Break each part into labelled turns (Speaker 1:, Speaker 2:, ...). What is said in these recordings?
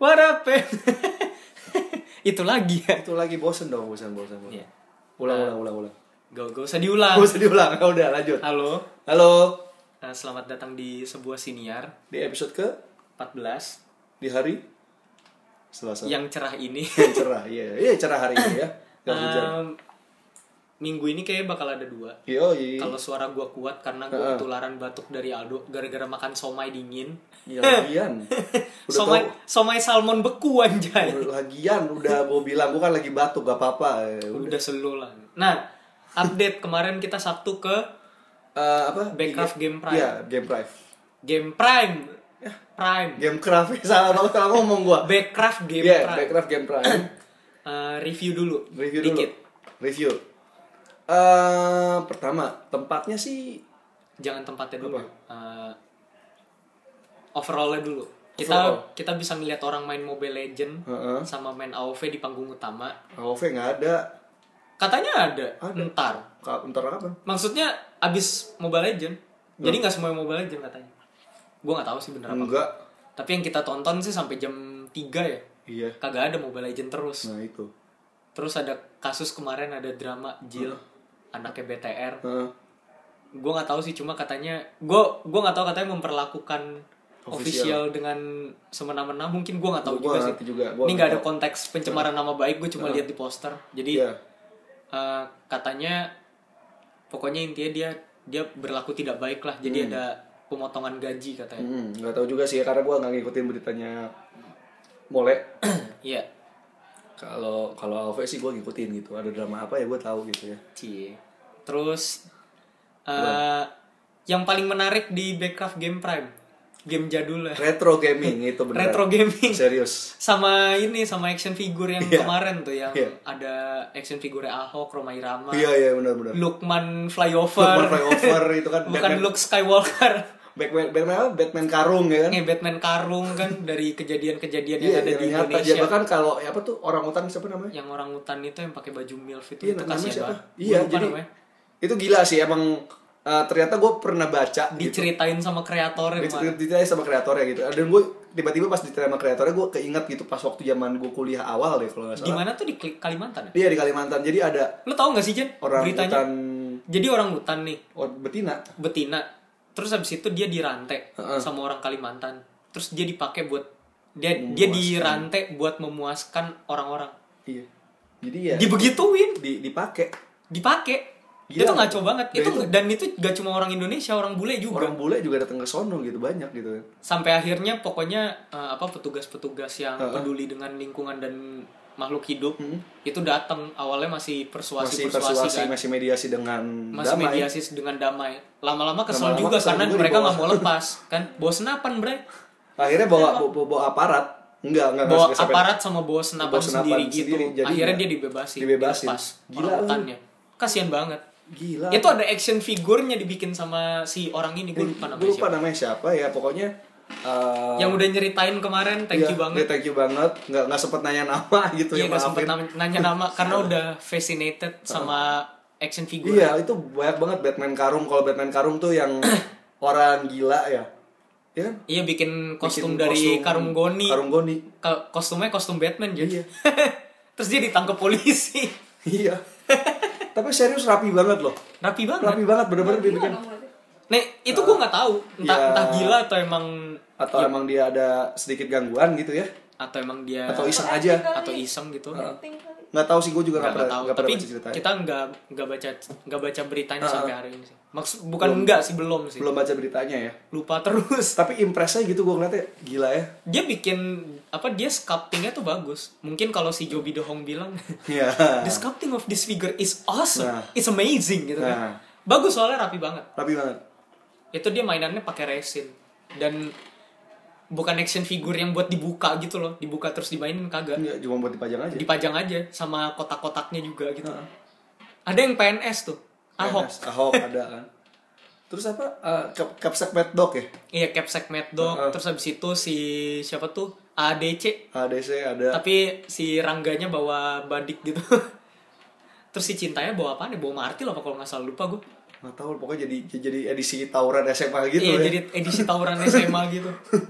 Speaker 1: What happened? itu lagi ya.
Speaker 2: Itu lagi bosen dong, bosen, bosen. bosen.
Speaker 1: Iya.
Speaker 2: Ulang, ulang, ulang, ulang.
Speaker 1: Gak, gak usah diulang.
Speaker 2: Gak usah diulang, udah lanjut.
Speaker 1: Halo,
Speaker 2: Halo,
Speaker 1: eh, selamat datang di sebuah siniar
Speaker 2: di episode ke
Speaker 1: 14
Speaker 2: di hari Selasa.
Speaker 1: yang cerah ini.
Speaker 2: Yang cerah, iya, iya cerah hari ini ya. Gak hujan.
Speaker 1: Em, minggu ini kayaknya bakal ada dua.
Speaker 2: Yo, iya.
Speaker 1: Kalau suara gua kuat karena gua ketularan batuk dari Aldo gara-gara makan somai dingin.
Speaker 2: Iya, lagian. Udah
Speaker 1: somai
Speaker 2: tau-
Speaker 1: somai salmon beku anjay.
Speaker 2: udah lagian udah gue bilang gue kan lagi batuk gak apa-apa Eh,
Speaker 1: Udah selo lah. Nah, update kemarin kita Sabtu ke
Speaker 2: eh, apa
Speaker 1: Backcraft Game Prime.
Speaker 2: Iya, game prime
Speaker 1: Game Prime.
Speaker 2: Ya.
Speaker 1: Prime.
Speaker 2: game craft salah banget salah ngomong gue
Speaker 1: Backcraft Game
Speaker 2: Iya,
Speaker 1: Prime.
Speaker 2: Backcraft Game Prime.
Speaker 1: Eh, review dulu.
Speaker 2: Review dulu.
Speaker 1: Dikit.
Speaker 2: Review. Eh, pertama, tempatnya sih
Speaker 1: Jangan tempatnya dulu. Eh, overallnya dulu. Kita
Speaker 2: Overall.
Speaker 1: kita bisa ngeliat orang main Mobile Legend
Speaker 2: Heeh.
Speaker 1: sama main AoV di panggung utama.
Speaker 2: AOV nggak ada.
Speaker 1: Katanya ada.
Speaker 2: Ada.
Speaker 1: Ntar.
Speaker 2: Ka- Ntar kapan?
Speaker 1: Maksudnya abis Mobile Legend. Jadi nggak semua yang Mobile Legend katanya. Gue nggak tahu sih bener apa.
Speaker 2: Enggak.
Speaker 1: Tapi yang kita tonton sih sampai jam 3 ya.
Speaker 2: Iya.
Speaker 1: Kagak ada Mobile Legend terus.
Speaker 2: Nah itu.
Speaker 1: Terus ada kasus kemarin ada drama Jill anaknya BTR.
Speaker 2: Heeh.
Speaker 1: gue nggak tahu sih cuma katanya gue gue nggak tahu katanya memperlakukan official, dengan semena-mena mungkin gue nggak tahu
Speaker 2: Gua
Speaker 1: juga sih
Speaker 2: ngerti juga, gua
Speaker 1: ini nggak
Speaker 2: nggak
Speaker 1: ada
Speaker 2: tahu. Nah.
Speaker 1: konteks pencemaran nama baik gue cuma lihat di poster jadi
Speaker 2: Iya.
Speaker 1: eh, katanya pokoknya intinya dia dia berlaku tidak baik lah jadi ada pemotongan gaji katanya
Speaker 2: Hmm, nggak tahu juga sih karena gua nggak ngikutin beritanya Mole.
Speaker 1: iya
Speaker 2: Kalau kalau AOV sih gua ngikutin gitu. Ada drama apa ya gua tahu gitu ya.
Speaker 1: cie terus eh, yang paling menarik di Backcraft Game Prime game jadul lah
Speaker 2: Retro gaming itu benar.
Speaker 1: retro gaming
Speaker 2: Serius.
Speaker 1: sama ini sama action figure yang kemarin tuh yang
Speaker 2: Iya.
Speaker 1: ada action figure Ahok, Roma Irama,
Speaker 2: Iya iya benar-benar.
Speaker 1: Lukman
Speaker 2: Batman
Speaker 1: flyover,
Speaker 2: flyover itu kan
Speaker 1: bukan
Speaker 2: Batman,
Speaker 1: Luke Skywalker,
Speaker 2: Batman, Batman, apa? Batman karung ya kan?
Speaker 1: eh Batman karung kan dari kejadian-kejadian yang
Speaker 2: Iya,
Speaker 1: ada di
Speaker 2: yang nyata
Speaker 1: Indonesia.
Speaker 2: aja bahkan kalau ya apa tuh orang utan siapa namanya?
Speaker 1: Yang orang hutan itu yang pakai baju milf itu,
Speaker 2: Iya,
Speaker 1: itu
Speaker 2: namanya
Speaker 1: kasihan
Speaker 2: siapa?
Speaker 1: banget.
Speaker 2: Iya,
Speaker 1: Gua lupa
Speaker 2: jadi
Speaker 1: namanya.
Speaker 2: itu gila sih emang eh, ternyata gue pernah baca gitu.
Speaker 1: diceritain sama kreatornya kemarin.
Speaker 2: Diceritain sama kreatornya gitu. Dan gue tiba-tiba pas diceritain sama kreatornya gue keinget gitu pas waktu zaman gue kuliah awal deh kalau nggak
Speaker 1: Di
Speaker 2: salah.
Speaker 1: mana tuh di Kli- Kalimantan? ya?
Speaker 2: Iya di Kalimantan. Jadi ada
Speaker 1: Lo tau gak sih Jen
Speaker 2: orang
Speaker 1: beritanya?
Speaker 2: hutan
Speaker 1: Jadi orang hutan nih
Speaker 2: oh, betina.
Speaker 1: betina terus habis itu dia dirantai sama orang Kalimantan terus dia dipakai buat dia dia dirantai buat memuaskan orang-orang
Speaker 2: Iya. Jadi ya
Speaker 1: dibegituin
Speaker 2: di, dipakai
Speaker 1: dipakai
Speaker 2: Gila.
Speaker 1: itu ngaco banget
Speaker 2: Dan
Speaker 1: itu, dan itu gak cuma orang Indonesia orang bule juga
Speaker 2: orang bule juga datang ke sono gitu banyak gitu.
Speaker 1: sampai akhirnya pokoknya eh, apa petugas-petugas yang peduli dengan lingkungan dan makhluk hidup itu datang awalnya masih persuasi
Speaker 2: Hmm. Masih
Speaker 1: persuasi
Speaker 2: persuasi,
Speaker 1: kan
Speaker 2: masih mediasi dengan
Speaker 1: masih
Speaker 2: damai.
Speaker 1: mediasi dengan damai lama-lama kesel
Speaker 2: Lama-lama
Speaker 1: juga
Speaker 2: kesel
Speaker 1: karena
Speaker 2: juga
Speaker 1: mereka
Speaker 2: dibawa.
Speaker 1: nggak mau lepas kan bosen apaan bre
Speaker 2: Akhirnya bawa bawa, bawa aparat. Enggak, enggak
Speaker 1: bawa
Speaker 2: nggak sampai-
Speaker 1: aparat sama bawa senapan,
Speaker 2: Bawa senapan
Speaker 1: sendiri,
Speaker 2: sendiri,
Speaker 1: gitu.
Speaker 2: jadi
Speaker 1: Akhirnya
Speaker 2: nggak-
Speaker 1: dia dibebasin,
Speaker 2: dibebasin.
Speaker 1: dilepas
Speaker 2: Gila
Speaker 1: orang
Speaker 2: lu.
Speaker 1: hutannya. Kasian banget.
Speaker 2: Gila.
Speaker 1: Itu ada action figurnya dibikin sama si orang ini, gue lupa
Speaker 2: gue
Speaker 1: namanya
Speaker 2: lupa
Speaker 1: siapa.
Speaker 2: namanya siapa ya pokoknya eh,
Speaker 1: Yang udah nyeritain kemarin, thank
Speaker 2: iya,
Speaker 1: you banget.
Speaker 2: iya, thank you banget nggak nggak sempet nanya nama gitu
Speaker 1: Iya
Speaker 2: ya
Speaker 1: gak sempet
Speaker 2: maafin
Speaker 1: nam- nanya nama karena udah fascinated sama action figure.
Speaker 2: iya itu banyak banget Batman karung kalau Batman karung tuh yang orang gila ya ya kan?
Speaker 1: Iya bikin
Speaker 2: Bikin
Speaker 1: kostum dari karung goni.
Speaker 2: karung goni
Speaker 1: Ka- kostumnya kostum Batman jadi.
Speaker 2: Iya.
Speaker 1: Terus dia ditangkap polisi.
Speaker 2: iya tapi serius rapi banget loh
Speaker 1: Rapi banget.
Speaker 2: rapi banget bener-bener dibikin
Speaker 1: Nih, itu gue nggak tahu entah,
Speaker 2: Iya.
Speaker 1: entah gila atau emang
Speaker 2: atau
Speaker 1: Iya.
Speaker 2: emang dia ada sedikit gangguan gitu ya
Speaker 1: atau emang dia
Speaker 2: atau iseng aja
Speaker 1: atau iseng gitu
Speaker 2: nggak tahu sih gue juga nggak
Speaker 1: nggak
Speaker 2: pernah
Speaker 1: tahu
Speaker 2: nggak pernah
Speaker 1: tapi
Speaker 2: baca ceritanya
Speaker 1: kita nggak nggak baca nggak baca beritanya sampai hari ini sih maksud bukan nggak sih belum sih
Speaker 2: belum baca beritanya ya
Speaker 1: lupa terus
Speaker 2: tapi impresnya gitu gue ngeliatnya gila ya
Speaker 1: dia bikin apa dia sculptingnya tuh bagus mungkin kalau si Joby Dohong bilang
Speaker 2: Iya.
Speaker 1: the sculpting of this figure is awesome
Speaker 2: Nah.
Speaker 1: it's amazing gitu
Speaker 2: Nah.
Speaker 1: kan bagus soalnya rapi banget
Speaker 2: rapi banget
Speaker 1: itu dia mainannya pakai resin dan bukan action figure yang buat dibuka gitu loh dibuka terus dimainin kagak
Speaker 2: Enggak, cuma buat dipajang aja.
Speaker 1: dipajang aja sama kotak-kotaknya juga gitu ada yang PNS tuh Ahok
Speaker 2: PNS, Ahok ada kan. Terus apa? eh, Cap Capsek Mad Dog ya?
Speaker 1: Iya Capsec Mad Dog, terus habis itu si siapa tuh ADC,
Speaker 2: ADC ada.
Speaker 1: tapi si Rangganya bawa badik gitu. terus si Cintanya bawa apa nih? Bawa Martil apa kalau nggak salah lupa gue.
Speaker 2: Nggak tahu pokoknya jadi jadi edisi tawuran SMA gitu
Speaker 1: iya
Speaker 2: ya.
Speaker 1: jadi edisi tawuran SMA gitu.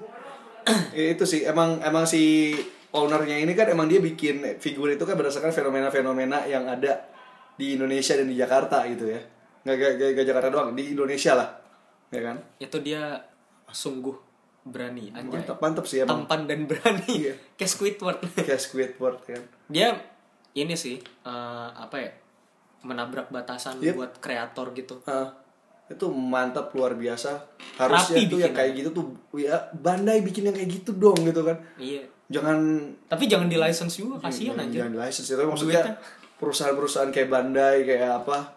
Speaker 2: Ya, itu sih emang emang si ownernya ini kan emang dia bikin figur itu kan berdasarkan fenomena-fenomena yang ada di Indonesia dan di Jakarta gitu ya nggak nggak- nggak nggak Jakarta doang di Indonesia lah ya kan
Speaker 1: itu dia sungguh berani anjay
Speaker 2: mantap Iya, mantap sih emang
Speaker 1: tampan dan berani kayak Squidward
Speaker 2: kayak Squidward kan
Speaker 1: dia ini sih eh, apa ya menabrak batasan
Speaker 2: Yep.
Speaker 1: buat kreator gitu
Speaker 2: Ah, itu mantap luar biasa harusnya
Speaker 1: Rapi
Speaker 2: tuh yang kayak gitu tuh ya Bandai bikin yang kayak gitu dong gitu kan
Speaker 1: iya
Speaker 2: jangan
Speaker 1: tapi jangan di license juga kasihan
Speaker 2: jangan,
Speaker 1: aja
Speaker 2: Hmm, jangan license itu maksudnya perusahaan-perusahaan kayak Bandai kayak apa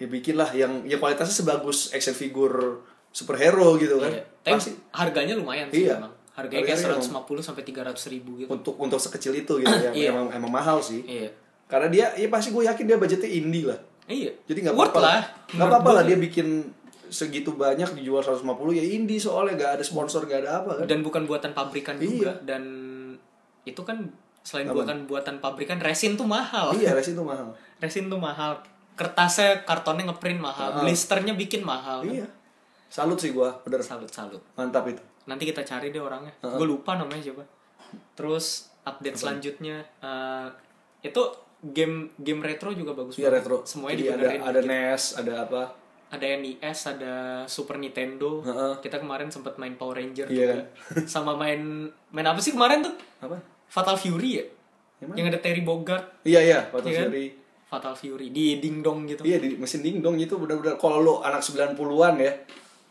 Speaker 2: ya bikin lah yang ya kualitasnya sebagus action figure superhero gitu kan
Speaker 1: Iya. tapi
Speaker 2: pasti
Speaker 1: harganya lumayan sih
Speaker 2: Iya.
Speaker 1: emang harganya kayak
Speaker 2: Harganya
Speaker 1: 150 sampai 300 ribu gitu
Speaker 2: untuk untuk sekecil itu gitu ya
Speaker 1: Iya.
Speaker 2: emang emang mahal sih
Speaker 1: iya
Speaker 2: karena dia ya pasti gue yakin dia budgetnya indie lah
Speaker 1: iya
Speaker 2: jadi nggak
Speaker 1: Worth
Speaker 2: apa-apa lah
Speaker 1: lah
Speaker 2: nggak apa-apa lah dia bikin segitu banyak dijual 150 ya indie soalnya nggak ada sponsor nggak ada apa kan
Speaker 1: dan bukan buatan pabrikan
Speaker 2: Iya.
Speaker 1: juga dan itu kan selain buatan buatan pabrikan resin tuh mahal
Speaker 2: iya resin itu mahal
Speaker 1: resin tuh mahal kertasnya kartonnya ngeprint mahal blisternya bikin mahal
Speaker 2: iya salut sih gue bener
Speaker 1: salut salut
Speaker 2: mantap itu
Speaker 1: nanti kita cari deh orangnya gue lupa namanya siapa terus update selanjutnya eh, itu game game retro juga bagus
Speaker 2: iya
Speaker 1: banget.
Speaker 2: retro
Speaker 1: semuanya
Speaker 2: Jadi ada
Speaker 1: dibenerin gitu.
Speaker 2: ada NES ada apa
Speaker 1: ada NES ada Super Nintendo
Speaker 2: Heeh.
Speaker 1: kita kemarin sempat main Power Ranger
Speaker 2: Iya
Speaker 1: juga sama main main apa sih kemarin tuh
Speaker 2: apa
Speaker 1: Fatal Fury ya
Speaker 2: Yang
Speaker 1: yang ada Terry Bogard
Speaker 2: iya iya Fatal
Speaker 1: Iya kan?
Speaker 2: Fury
Speaker 1: Fatal Fury di Ding Dong gitu
Speaker 2: Iya di mesin dingdong itu benar-benar kalau lo anak 90-an ya.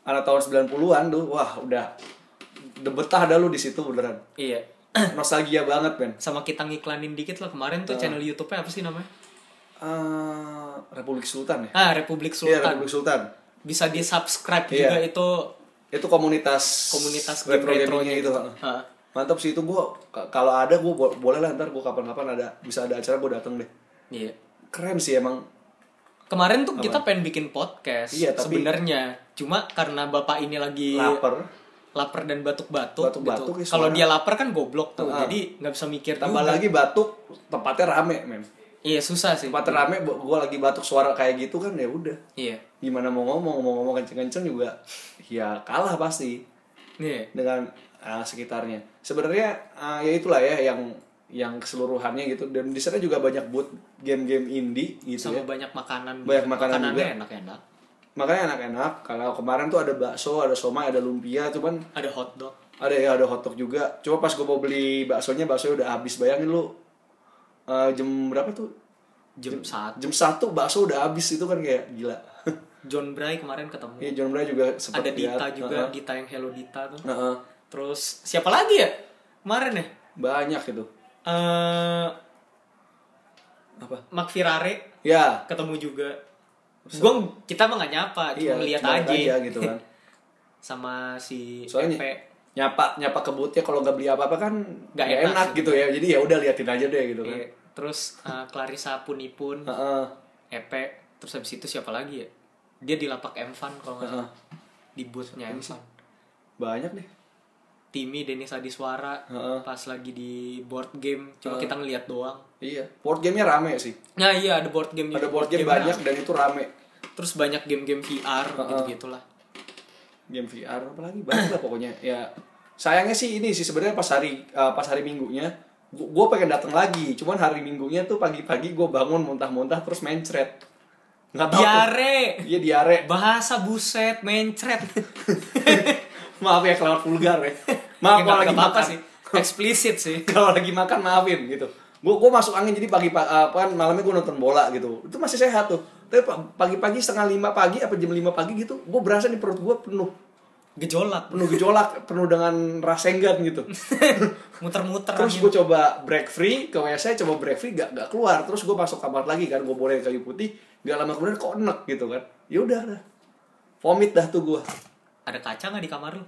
Speaker 2: Anak tahun 90-an tuh wah udah debetah dah lu di situ beneran.
Speaker 1: iya
Speaker 2: Nostalgia banget, men.
Speaker 1: sama kita ngiklanin dikit lah kemarin tuh channel YouTube-nya apa sih namanya
Speaker 2: Eh, Republik Sultan ya?
Speaker 1: ah Republik Sultan
Speaker 2: Iya, Republik Sultan.
Speaker 1: bisa di subscribe
Speaker 2: Iya.
Speaker 1: juga itu
Speaker 2: Itu komunitas
Speaker 1: komunitas game
Speaker 2: retro
Speaker 1: retronya
Speaker 2: gamingnya
Speaker 1: gitu.
Speaker 2: itu.
Speaker 1: Heeh.
Speaker 2: Mantap sih itu gua k- kalau ada gua bo- boleh lah ntar gua kapan-kapan ada bisa ada acara gua datang deh.
Speaker 1: Iya.
Speaker 2: Keren sih emang.
Speaker 1: Kemarin tuh kita pengen bikin podcast
Speaker 2: Iya, tapi-
Speaker 1: sebenarnya. Cuma karena bapak ini lagi
Speaker 2: Lapar.
Speaker 1: lapar dan batuk-batuk
Speaker 2: Batuk-batuk,
Speaker 1: gitu.
Speaker 2: ya,
Speaker 1: Kalau
Speaker 2: suara.
Speaker 1: dia lapar kan goblok tuh.
Speaker 2: Heeh.
Speaker 1: Jadi nggak bisa mikir
Speaker 2: Tambah
Speaker 1: juga.
Speaker 2: lagi batuk, tempatnya rame, men.
Speaker 1: Iya, susah sih.
Speaker 2: Tempatnya rame, bu- gua lagi batuk suara kayak gitu kan ya udah.
Speaker 1: Iya.
Speaker 2: gimana mau ngomong mau ngomong kenceng-kenceng juga ya kalah pasti
Speaker 1: Iya.
Speaker 2: dengan ah, sekitarnya sebenarnya ah, ya itulah ya yang yang keseluruhannya gitu dan di sana juga banyak buat game-game indie gitu
Speaker 1: Sama
Speaker 2: ya
Speaker 1: banyak makanan.
Speaker 2: Banyak makanan
Speaker 1: Makanannya
Speaker 2: juga.
Speaker 1: enak-enak.
Speaker 2: makanya enak-enak kalau kemarin tuh ada bakso ada somai ada lumpia cuman
Speaker 1: Ada hotdog.
Speaker 2: ada ya ada hotdog juga cuma pas gue mau beli baksonya baksonya udah habis bayangin lu eh, jam berapa tuh
Speaker 1: Jam saat
Speaker 2: jam satu bakso udah habis itu kan kayak gila
Speaker 1: John Bray kemarin ketemu.
Speaker 2: ya John Bray juga sempat
Speaker 1: Ada Dita
Speaker 2: lihat.
Speaker 1: juga,
Speaker 2: Heeh.
Speaker 1: Dita yang Hello Dita tuh.
Speaker 2: Heeh.
Speaker 1: Terus siapa lagi ya? Kemarin ya?
Speaker 2: banyak gitu
Speaker 1: Eh
Speaker 2: apa
Speaker 1: Mark Firare
Speaker 2: Ya,
Speaker 1: ketemu juga gue kita mah nggak nyapa
Speaker 2: iya,
Speaker 1: cuma lihat
Speaker 2: cuma
Speaker 1: aja,
Speaker 2: gitu kan.
Speaker 1: sama si
Speaker 2: Soalnya-
Speaker 1: Epe.
Speaker 2: Nyapa nyapa kebutnya kalau nggak beli apa-apa kan
Speaker 1: Nggak
Speaker 2: nggak
Speaker 1: enak
Speaker 2: enak, gitu ya. Jadi ya udah liatin aja deh gitu kan.
Speaker 1: Iya. terus eh, Clarissa Punipun
Speaker 2: Heeh.
Speaker 1: Epe E terus habis itu siapa lagi ya dia di lapak M Fan kalau nggak salah di boothnya M Fan
Speaker 2: Banyak deh.
Speaker 1: Timmy Denis Adiswara
Speaker 2: Heeh.
Speaker 1: pas lagi di board game cuma kita ngeliat doang
Speaker 2: Iya, board gamenya rame sih.
Speaker 1: nah iya ada board game
Speaker 2: Ada
Speaker 1: juga.
Speaker 2: board game banyak dan itu rame.
Speaker 1: terus banyak game-game VR gitu gitulah
Speaker 2: Game VR apalagi banyak lah pokoknya. Ya sayangnya sih ini sih sebenarnya pas hari eh, pas hari minggunya gue pengen datang lagi cuman hari minggunya tuh pagi-pagi gue bangun muntah-muntah terus mencret nggak tahu
Speaker 1: diare
Speaker 2: iya diare
Speaker 1: bahasa buset mencret
Speaker 2: maaf ya kelewat vulgar ya maaf
Speaker 1: Ya,
Speaker 2: kalau
Speaker 1: nggak-
Speaker 2: lagi
Speaker 1: nggak apa-apa
Speaker 2: makan
Speaker 1: sih eksplisit sih
Speaker 2: kalau lagi makan maafin gitu gue gue masuk angin jadi pagi pa- apa malamnya gue nonton bola gitu itu masih sehat tuh tapi pa- pagi-pagi setengah lima pagi apa jam lima pagi gitu gue berasa nih perut gue penuh
Speaker 1: gejolak
Speaker 2: penuh gejolak penuh dengan rasa enggan gitu
Speaker 1: muter-muter
Speaker 2: terus
Speaker 1: angin.
Speaker 2: gue coba break free ke wc coba break free gak gak keluar terus gue masuk kamar lagi kan gue boleh kayu putih gak lama kemudian kok enek gitu kan yaudah dah vomit dah tuh gue
Speaker 1: ada kaca nggak di kamar lu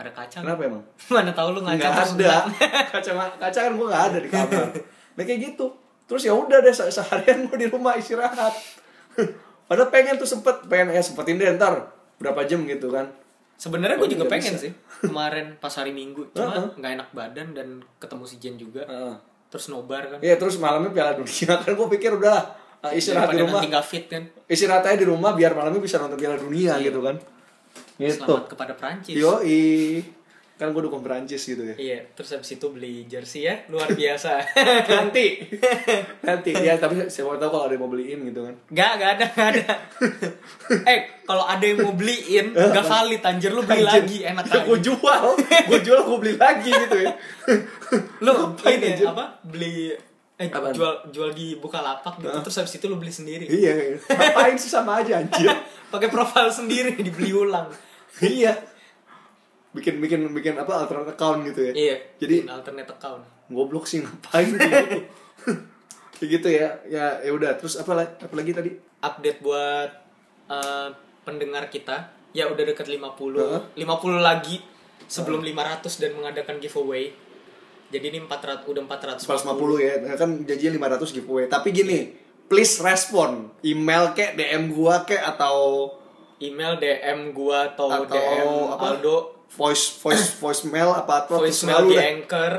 Speaker 1: ada kaca nggak?
Speaker 2: kenapa emang
Speaker 1: mana tahu lu ngaca
Speaker 2: nggak
Speaker 1: terus
Speaker 2: ada kaca kaca kan gue nggak ada di kamar nah kayak gitu terus ya udah deh se- seharian gue di rumah istirahat padahal pengen tuh sempet pengen ya sempetin deh ntar berapa jam gitu kan
Speaker 1: sebenarnya gue
Speaker 2: Gua
Speaker 1: juga
Speaker 2: juga
Speaker 1: pengen
Speaker 2: bisa.
Speaker 1: sih kemarin pas hari minggu cuma
Speaker 2: Heeh.
Speaker 1: nggak enak badan dan ketemu si Jen juga
Speaker 2: Heeh.
Speaker 1: terus nobar kan
Speaker 2: Iya terus malamnya piala dunia kan gue pikir udahlah ah, istirahat di
Speaker 1: Daripada
Speaker 2: rumah
Speaker 1: nanti nggak fit kan
Speaker 2: istirahat aja di rumah
Speaker 1: Iya.
Speaker 2: biar malamnya bisa nonton piala dunia gitu kan gitu
Speaker 1: selamat kepada Prancis
Speaker 2: yoi kan gue dukung Perancis gitu ya
Speaker 1: Iya, terus habis itu beli jersey ya, luar biasa. Nanti.
Speaker 2: nanti ya tapi siapa tahu kalau ada yang mau beliin gitu kan
Speaker 1: Gak, gak ada, gak ada. eh, kalau ada yang mau beliin, gak valid anjir lu beli lagi enak
Speaker 2: ya, gue
Speaker 1: aja.
Speaker 2: jual gue jual gue beli lagi gitu ya
Speaker 1: Lu
Speaker 2: Ngapain,
Speaker 1: ini
Speaker 2: anjir?
Speaker 1: apa? Beli eh
Speaker 2: Apaan?
Speaker 1: jual jual di Bukalapak gitu, terus habis itu lu beli sendiri.
Speaker 2: iya iya. ngapain sih sama aja anjir
Speaker 1: Pakai profil sendiri dibeli ulang.
Speaker 2: iya bikin bikin bikin apa alternate account gitu ya
Speaker 1: Iya.
Speaker 2: Jadi-
Speaker 1: bikin alternate account.
Speaker 2: goblok sih ngapain gitu kayak gitu ya ya ya udah terus apa la- apa lagi tadi
Speaker 1: update buat eh, pendengar kita ya udah deket 50
Speaker 2: Heeh.
Speaker 1: 50 lagi sebelum 500 dan mengadakan giveaway jadi ini 400 udah 400
Speaker 2: 150 ya kan janjinya 500 giveaway tapi gini please respon email kek DM gua kek atau
Speaker 1: email DM gua atau,
Speaker 2: Atau
Speaker 1: DM
Speaker 2: apa?
Speaker 1: Aldo
Speaker 2: voice voice voicemail apa atau
Speaker 1: voicemail di
Speaker 2: deh.
Speaker 1: Anchor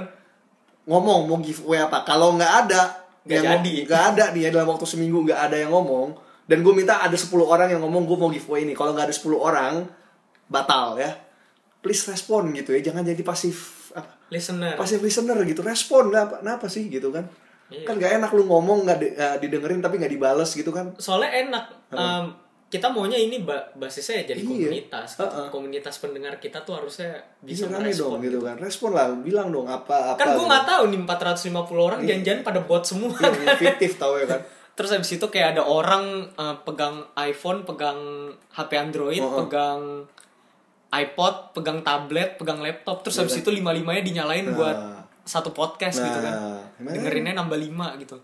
Speaker 2: ngomong mau giveaway apa kalau nggak ada
Speaker 1: Nggak
Speaker 2: yang
Speaker 1: jadi.
Speaker 2: ngom- nggak ada nih ya dalam waktu seminggu nggak ada yang ngomong dan gue minta ada 10 orang yang ngomong gue mau giveaway ini kalau nggak ada 10 orang batal ya please respon gitu ya jangan jadi pasif apa,
Speaker 1: listener
Speaker 2: pasif listener gitu respon lah apa- kenapa sih gitu kan
Speaker 1: Iya.
Speaker 2: kan nggak enak lu ngomong nggak di- nggak didengerin tapi nggak dibales gitu kan
Speaker 1: soalnya enak em, kita maunya ini ba- basisnya ya jadi
Speaker 2: Iya.
Speaker 1: komunitas gitu.
Speaker 2: Heeh.
Speaker 1: komunitas pendengar kita tuh harusnya bisa
Speaker 2: bisa rame dong
Speaker 1: merespon
Speaker 2: gitu kan respon lah bilang dong apa apa
Speaker 1: kan gua
Speaker 2: gitu.
Speaker 1: nggak tahu nih 450 orang janjian pada buat semua
Speaker 2: Iya, iya, fiktif tau ya kan
Speaker 1: Terus habis itu kayak ada orang eh, pegang iPhone, pegang HP Android,
Speaker 2: Oh, oh.
Speaker 1: pegang iPod, pegang tablet, pegang laptop. Terus
Speaker 2: Iya.
Speaker 1: habis itu lima-limanya dinyalain buat satu podcast gitu kan.
Speaker 2: Nah, emang-
Speaker 1: Dengerinnya nambah lima gitu.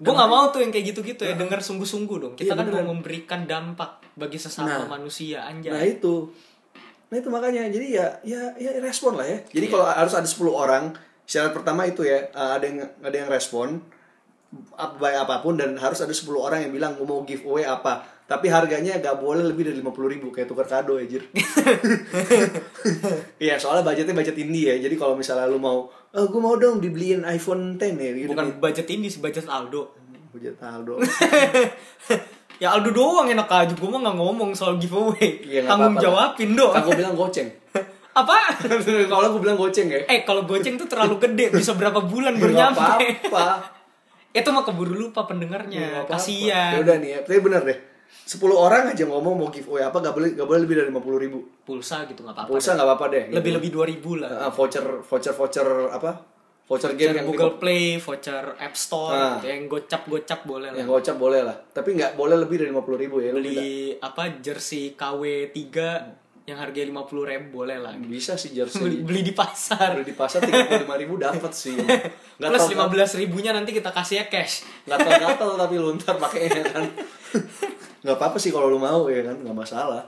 Speaker 1: Gue gak mau tuh yang kayak gitu-gitu ya, denger sungguh-sungguh dong. Kita kan
Speaker 2: Nah. Iya,
Speaker 1: mau
Speaker 2: beneran.
Speaker 1: memberikan dampak bagi sesama
Speaker 2: Nah.
Speaker 1: manusia,
Speaker 2: Nah
Speaker 1: anjay.
Speaker 2: itu. Nah itu makanya. Jadi ya ya ya respon lah ya. Jadi
Speaker 1: Iya.
Speaker 2: kalau harus ada 10 orang, syarat pertama itu ya uh, ada yang ada yang respon up by apapun dan harus ada 10 orang yang bilang mau giveaway apa. Tapi harganya gak boleh lebih dari 50 ribu kayak tukar kado ya jir. Iya soalnya budgetnya budget indie ya. Jadi kalau misalnya lu mau, eh gue mau dong dibeliin iPhone 10 ya gitu.
Speaker 1: Bukan budget ini sih, budget Aldo.
Speaker 2: Budget Aldo.
Speaker 1: Ya Aldo doang enak aja, gue mah gak ngomong soal giveaway.
Speaker 2: Iya, nggak
Speaker 1: Tanggung
Speaker 2: apa-apa lah.
Speaker 1: jawabin dong.
Speaker 2: Kan gue bilang goceng.
Speaker 1: Apa?
Speaker 2: kalau gue bilang goceng ya.
Speaker 1: Eh kalau goceng tuh terlalu gede Bisa berapa bulan baru
Speaker 2: Gak
Speaker 1: nyampe
Speaker 2: apa-apa.
Speaker 1: Itu mah keburu lupa
Speaker 2: Nggak
Speaker 1: pendengarnya
Speaker 2: apa-apa. Ya
Speaker 1: Kasian
Speaker 2: udah nih ya, tapi bener deh. 10 orang aja ngomong mau giveaway apa gak boleh gak boleh lebih dari 50 ribu.
Speaker 1: Pulsa gitu gak apa-apa
Speaker 2: Pulsa gak apa-apa deh. gitu.
Speaker 1: Lebih-lebih 2000 lah
Speaker 2: Ah, voucher voucher voucher apa? Voucher game
Speaker 1: Voucher
Speaker 2: yang
Speaker 1: Google Play Voucher App Store
Speaker 2: Ah. Iya,
Speaker 1: gitu, Yang gocap-gocap boleh lah
Speaker 2: yang gocap boleh lah. Tapi nggak boleh lebih dari 50 ribu ya. Lu minta-
Speaker 1: Beli apa jersey KW 3 Yang harganya 50 ribu boleh lah
Speaker 2: bisa sih
Speaker 1: Beli,
Speaker 2: jersey.
Speaker 1: beli di pasar
Speaker 2: Beli di pasar 35 ribu dapat sih. Gak
Speaker 1: Plus 15 ribunya nanti kita kasih ya cash
Speaker 2: gatel-gatel tapi lu ntar pakainya kan. Gak apa-apa sih kalau lu mau ya kan, gak masalah.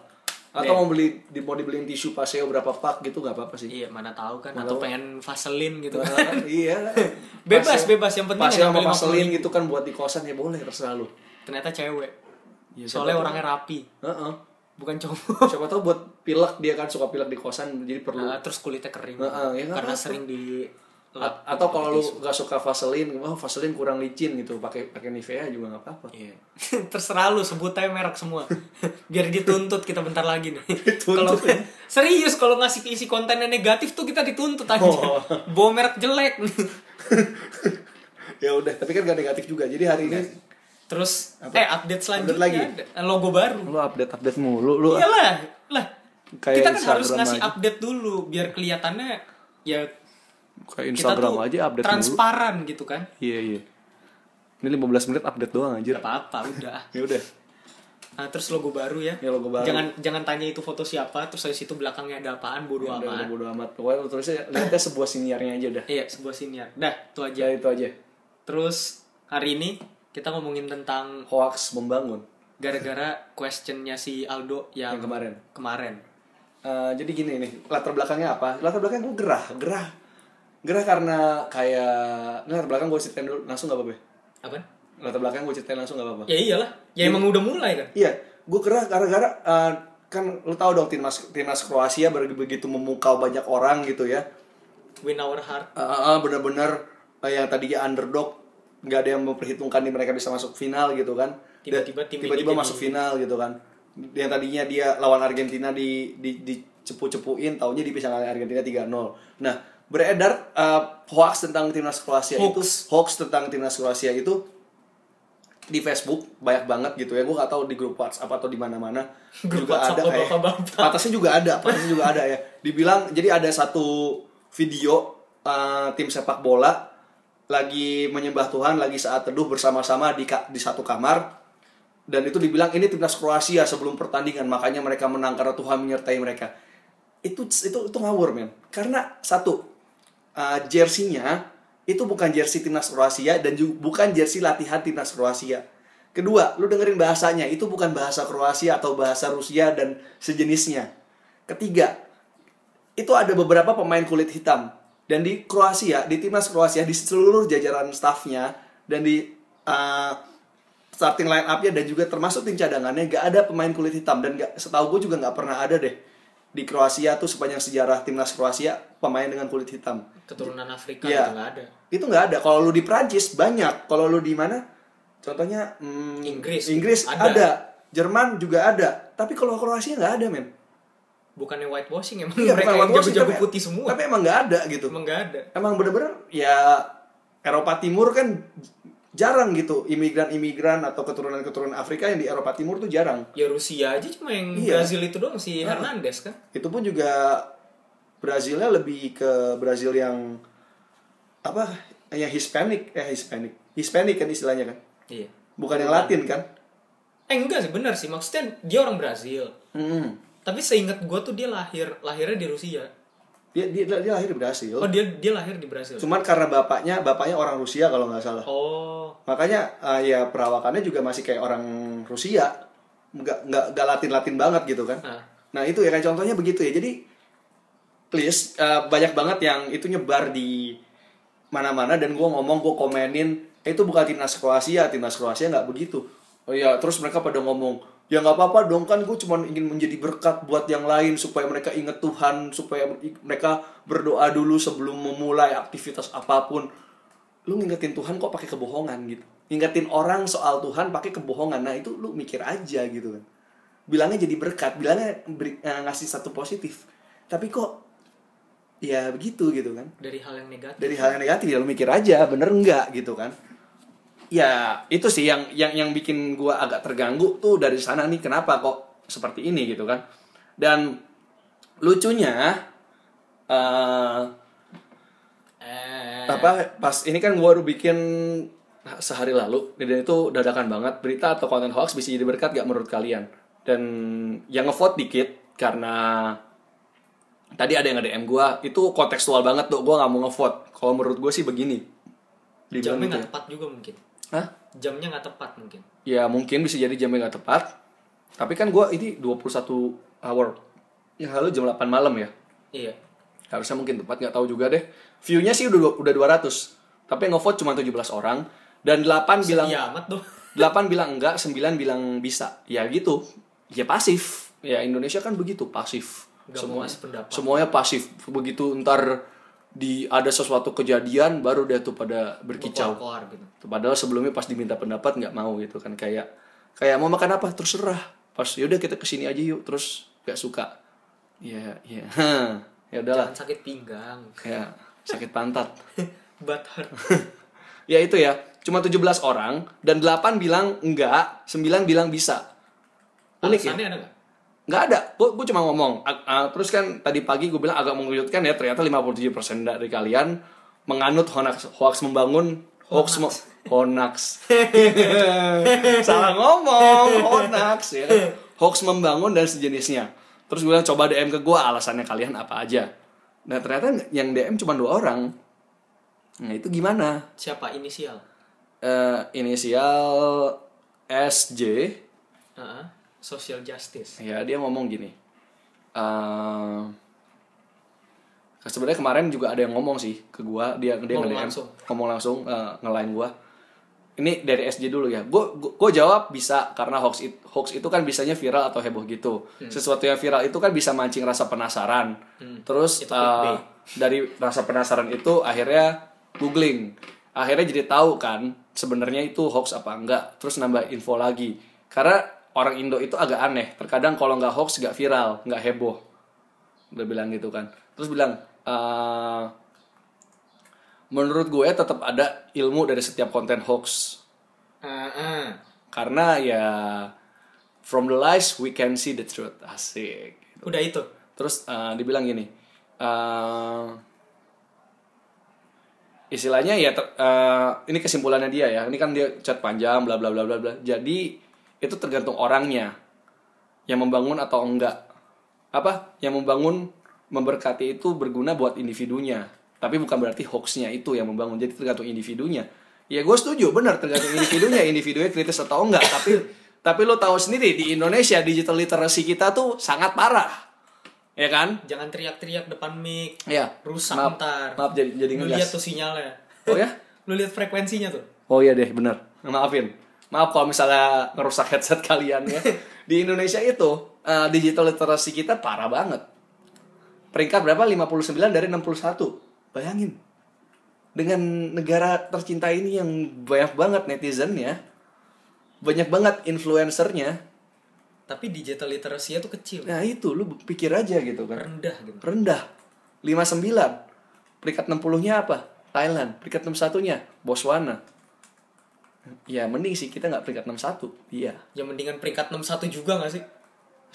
Speaker 2: Atau mau beli di- mau dibeliin tisu paseo berapa pak gitu gak apa-apa sih.
Speaker 1: Iya mana tahu kan
Speaker 2: Mana
Speaker 1: Atau
Speaker 2: tahu.
Speaker 1: pengen vaselin gitu kan
Speaker 2: Nah, iya.
Speaker 1: Bebas,
Speaker 2: Pasir-
Speaker 1: bebas. Yang penting
Speaker 2: pasir
Speaker 1: ada
Speaker 2: sama
Speaker 1: beli
Speaker 2: vaselin gitu kan buat di kosan ya boleh terserah lu.
Speaker 1: Ternyata cewek
Speaker 2: Iya,
Speaker 1: Soalnya
Speaker 2: siapa tahu.
Speaker 1: orangnya rapi
Speaker 2: Heeh.
Speaker 1: Bukan cowok
Speaker 2: Siapa tahu buat pilek dia kan suka pilek di kosan jadi perlu.
Speaker 1: Nah, terus kulitnya kering
Speaker 2: Heeh, ya ah, nggak
Speaker 1: karena
Speaker 2: apa-apa.
Speaker 1: sering di
Speaker 2: A- atau kalau lu gak suka vaselin, wah vaselin kurang licin gitu, pakai pakai Nivea juga nggak apa-apa.
Speaker 1: Iya. terserah lu sebut aja merek semua biar dituntut kita bentar lagi nih kalau
Speaker 2: ya?
Speaker 1: serius kalau ngasih isi kontennya negatif tuh kita dituntut aja
Speaker 2: Oh.
Speaker 1: bawa merek jelek
Speaker 2: ya udah, tapi kan gak negatif juga. Jadi hari ini
Speaker 1: terus
Speaker 2: Apa?
Speaker 1: eh update selanjutnya
Speaker 2: lagi?
Speaker 1: ada logo baru
Speaker 2: lu update update mulu, lu
Speaker 1: iyalah lah
Speaker 2: Kayak
Speaker 1: kita kan
Speaker 2: Instagram
Speaker 1: harus ngasih
Speaker 2: aja.
Speaker 1: update dulu biar kelihatannya ya
Speaker 2: kayak
Speaker 1: kita tuh transparan gitu kan
Speaker 2: Iya iya. Ini 15 menit update doang anjir.
Speaker 1: Gak apa-apa udah
Speaker 2: Ya udah.
Speaker 1: Nah, terus logo baru ya.
Speaker 2: Ya, logo baru.
Speaker 1: Jangan jangan tanya itu foto siapa, terus dari situ belakangnya ada apaan bodo
Speaker 2: Udah, udah
Speaker 1: amat.
Speaker 2: bodo amat. Pokoknya lu tulisnya lihatnya sebuah siniarnya aja dah.
Speaker 1: Iya, sebuah siniar. Dah, itu aja.
Speaker 2: Ya itu aja.
Speaker 1: Terus hari ini kita ngomongin tentang
Speaker 2: Hoax membangun.
Speaker 1: gara-gara questionnya si Aldo yang,
Speaker 2: Yang kemarin.
Speaker 1: kemarin.
Speaker 2: Eh, jadi gini nih, latar belakangnya apa? Latar belakang gue gerah, gerah. Gerah karena kayak... Ini latar belakang gue ceritain dulu, langsung gak apa-apa ya?
Speaker 1: Apa?
Speaker 2: Latar belakang gue ceritain langsung gak apa-apa?
Speaker 1: Ya iyalah. Ya emang udah mulai kan.
Speaker 2: Iya, gue gerah gara-gara... eh, kan lu tau dong timnas, timnas Kroasia ber- begitu memukau banyak orang gitu ya.
Speaker 1: Win our heart.
Speaker 2: Eh, eh, eh, bener-bener eh, yang tadinya underdog nggak ada yang memperhitungkan nih mereka bisa masuk final gitu kan Dan
Speaker 1: Tiba-tiba tim ini
Speaker 2: tiba-tiba
Speaker 1: jadi-
Speaker 2: masuk final gitu kan yang tadinya dia lawan Argentina di di di, cepu-cepuin taunya dia bisa ngalahin Argentina 3-0 nah beredar eh, hoax tentang timnas Kroasia itu hoax tentang timnas Kroasia itu di Facebook banyak banget gitu ya gue gak tahu di grup WhatsApp atau di mana-mana
Speaker 1: Grup
Speaker 2: juga
Speaker 1: WhatsApp
Speaker 2: ada kayak
Speaker 1: bapak-bapak.
Speaker 2: patasnya juga ada patasnya juga ada ya dibilang jadi ada satu video eh, tim sepak bola lagi menyembah Tuhan lagi saat teduh bersama-sama di ka- di satu kamar dan itu dibilang ini timnas Kroasia sebelum pertandingan makanya mereka menang karena Tuhan menyertai mereka itu itu itu ngawur men karena satu eh, jersinya itu bukan jersey timnas Kroasia dan juga bukan jersey latihan timnas Kroasia kedua lu dengerin bahasanya itu bukan bahasa Kroasia atau bahasa Rusia dan sejenisnya ketiga itu ada beberapa pemain kulit hitam dan di Kroasia di timnas Kroasia di seluruh jajaran stafnya dan di eh, starting line up-nya dan juga termasuk tim cadangannya gak ada pemain kulit hitam dan gak, setahu gue juga nggak pernah ada deh di Kroasia tuh sepanjang sejarah timnas Kroasia pemain dengan kulit hitam
Speaker 1: keturunan Afrika
Speaker 2: Iya.
Speaker 1: itu nggak ada
Speaker 2: itu nggak ada kalau lu di Prancis banyak kalau lu di mana contohnya hmm,
Speaker 1: Inggris.
Speaker 2: Inggris ada.
Speaker 1: Ada.
Speaker 2: Jerman juga ada tapi kalau Kroasia nggak ada men
Speaker 1: bukannya whitewashing emang
Speaker 2: Iya,
Speaker 1: mereka
Speaker 2: bukan
Speaker 1: yang
Speaker 2: whitewashing,
Speaker 1: jago-jago
Speaker 2: tapi-
Speaker 1: putih semua
Speaker 2: tapi emang nggak ada gitu
Speaker 1: emang nggak ada
Speaker 2: emang bener-bener ya Eropa Timur kan jarang gitu imigran-imigran atau keturunan-keturunan Afrika yang di Eropa Timur tuh jarang
Speaker 1: ya Rusia aja cuma yang
Speaker 2: Iya.
Speaker 1: Brazil itu doang si Hernandez kan
Speaker 2: itu pun juga Brazilnya lebih ke Brazil yang apa yang Hispanic eh Hispanic Hispanic kan istilahnya kan
Speaker 1: iya
Speaker 2: bukan yang Latin kan
Speaker 1: eh enggak sih benar sih maksudnya dia orang Brazil
Speaker 2: Mm-mm.
Speaker 1: tapi seingat gua tuh dia lahir lahirnya di Rusia
Speaker 2: dia, dia dia lahir di Brasil
Speaker 1: oh dia dia lahir di Brazil
Speaker 2: cuman karena bapaknya bapaknya orang Rusia kalau nggak salah
Speaker 1: oh
Speaker 2: makanya eh, ya perawakannya juga masih kayak orang Rusia nggak nggak nggak Latin Latin banget gitu kan
Speaker 1: nah
Speaker 2: Nah itu ya kayak contohnya begitu ya. Jadi please eh, banyak banget yang itu nyebar di mana-mana dan gue ngomong gue komenin "Eh, itu bukan timnas Kroasia, timnas Kroasia nggak begitu. Oh ya terus mereka pada ngomong ya nggak apa-apa dong kan gue cuma ingin menjadi berkat buat yang lain supaya mereka ingat Tuhan supaya mereka berdoa dulu sebelum memulai aktivitas apapun lu ngingetin Tuhan kok pakai kebohongan gitu ngingetin orang soal Tuhan pakai kebohongan nah itu lu mikir aja gitu kan bilangnya jadi berkat bilangnya beri- eh, ngasih satu positif tapi kok ya begitu gitu kan
Speaker 1: dari hal yang negatif
Speaker 2: dari hal yang negatif ya lu mikir aja bener nggak gitu kan ya itu sih yang yang yang bikin gua agak terganggu tuh dari sana nih kenapa kok seperti ini gitu kan dan lucunya eh
Speaker 1: eh,
Speaker 2: apa pas ini kan gua baru bikin sehari lalu dan itu dadakan banget berita atau konten hoax bisa jadi berkat gak menurut kalian dan yang ngevote dikit karena tadi ada yang nge-DM gua itu kontekstual banget tuh gua nggak mau ngevote kalau menurut gue sih begini
Speaker 1: jamnya
Speaker 2: Dibilang gitu
Speaker 1: nggak
Speaker 2: ya.
Speaker 1: tepat juga mungkin
Speaker 2: Hah?
Speaker 1: jamnya nggak tepat mungkin
Speaker 2: ya mungkin bisa jadi jamnya nggak tepat tapi kan gua ini 21 hour ya lalu jam 8 malam ya
Speaker 1: iya
Speaker 2: harusnya mungkin tepat nggak tahu juga deh viewnya sih udah dua- udah 200 tapi yang ngevote cuma 17 orang dan 8 bilang
Speaker 1: iya amat dong
Speaker 2: 8 bilang enggak 9 bilang bisa ya gitu ya pasif ya Indonesia kan begitu pasif
Speaker 1: Nggak mau ngasih pendapat.
Speaker 2: semuanya pasif begitu ntar di ada sesuatu kejadian baru dia tuh pada berkicau
Speaker 1: keluar gitu
Speaker 2: Padahal sebelumnya pas diminta pendapat nggak mau gitu kan kayak kayak mau makan apa terus serah. Pas yaudah kita kesini aja yuk terus nggak suka. Ya ya ya udahlah
Speaker 1: jangan Kan sakit pinggang
Speaker 2: ya sakit pantat.
Speaker 1: butt hurt
Speaker 2: ya itu ya cuma 17 orang dan 8 bilang enggak, 9 bilang bisa. Unik ya?
Speaker 1: alasannya ada nggak
Speaker 2: Nggak ada, gue, cuma ngomong. Ag- ah, terus kan tadi pagi gue bilang agak mengejutkan ya, ternyata 57% dari kalian menganut hoax, hoax membangun, hoax, mo- hoax. Salah ngomong, hoax ya. kan. Hoax membangun dan sejenisnya. Terus gue bilang coba DM ke gue alasannya kalian apa aja. Nah ternyata yang DM cuma dua orang. Nah itu gimana?
Speaker 1: siapa inisial
Speaker 2: Eh, inisial SJ
Speaker 1: Heeh. social justice
Speaker 2: ya dia ngomong gini ehm, sebenarnya kemarin juga ada yang ngomong sih ke gua dia dia
Speaker 1: Ngomong
Speaker 2: nge-DM,
Speaker 1: langsung.
Speaker 2: ngomong langsung eh, ngelain gua ini dari SJ dulu ya gua gua, gua jawab bisa karena hoax it- hoax itu kan bisanya viral atau heboh gitu
Speaker 1: Hmm.
Speaker 2: sesuatu yang viral itu kan bisa mancing rasa penasaran terus
Speaker 1: Itu clickbait.
Speaker 2: eh, dari rasa penasaran itu akhirnya googling akhirnya jadi tahu kan sebenarnya itu hoax apa enggak terus nambah info lagi karena orang Indo itu agak aneh terkadang kalau nggak hoax nggak viral nggak heboh udah bilang gitu kan terus bilang eh, menurut gue tetap ada ilmu dari setiap konten hoax
Speaker 1: Heeh.
Speaker 2: karena ya from the lies we can see the truth asik
Speaker 1: Udah itu.
Speaker 2: terus eh, dibilang gini eh, istilahnya ya ter- eh, ini kesimpulannya dia ya ini kan dia chat panjang bla bla bla bla bla jadi itu tergantung orangnya yang membangun atau enggak apa yang membangun memberkati itu berguna buat individunya tapi bukan berarti hoaxnya itu yang membangun jadi tergantung individunya ya gue setuju benar tergantung individunya individunya kritis atau enggak tapi tapi lo tahu sendiri di Indonesia digital literacy kita tuh sangat parah ya kan
Speaker 1: Jangan teriak-teriak depan mic.
Speaker 2: ya
Speaker 1: Rusak
Speaker 2: maaf,
Speaker 1: ntar.
Speaker 2: maaf jadi jadi
Speaker 1: Lu
Speaker 2: ngegas.
Speaker 1: lihat tuh sinyalnya.
Speaker 2: oh ya
Speaker 1: Lu lihat frekuensinya tuh.
Speaker 2: Oh iya deh, bener. Maafin. Maaf kalau misalnya ngerusak headset kalian ya. Di Indonesia itu, eh, digital literasi kita parah banget. Peringkat berapa? 59 dari 61. Bayangin. Dengan negara tercinta ini yang banyak banget netizennya, banyak banget influencernya.
Speaker 1: Tapi digital literacy tuh kecil.
Speaker 2: Nah itu, lu pikir aja gitu kan.
Speaker 1: Rendah gitu.
Speaker 2: Rendah. 59. Peringkat 60-nya apa? Thailand. Peringkat 61-nya Botswana. Ya mending sih kita nggak peringkat 61. Iya.
Speaker 1: Ya mendingan peringkat 61 juga gak sih?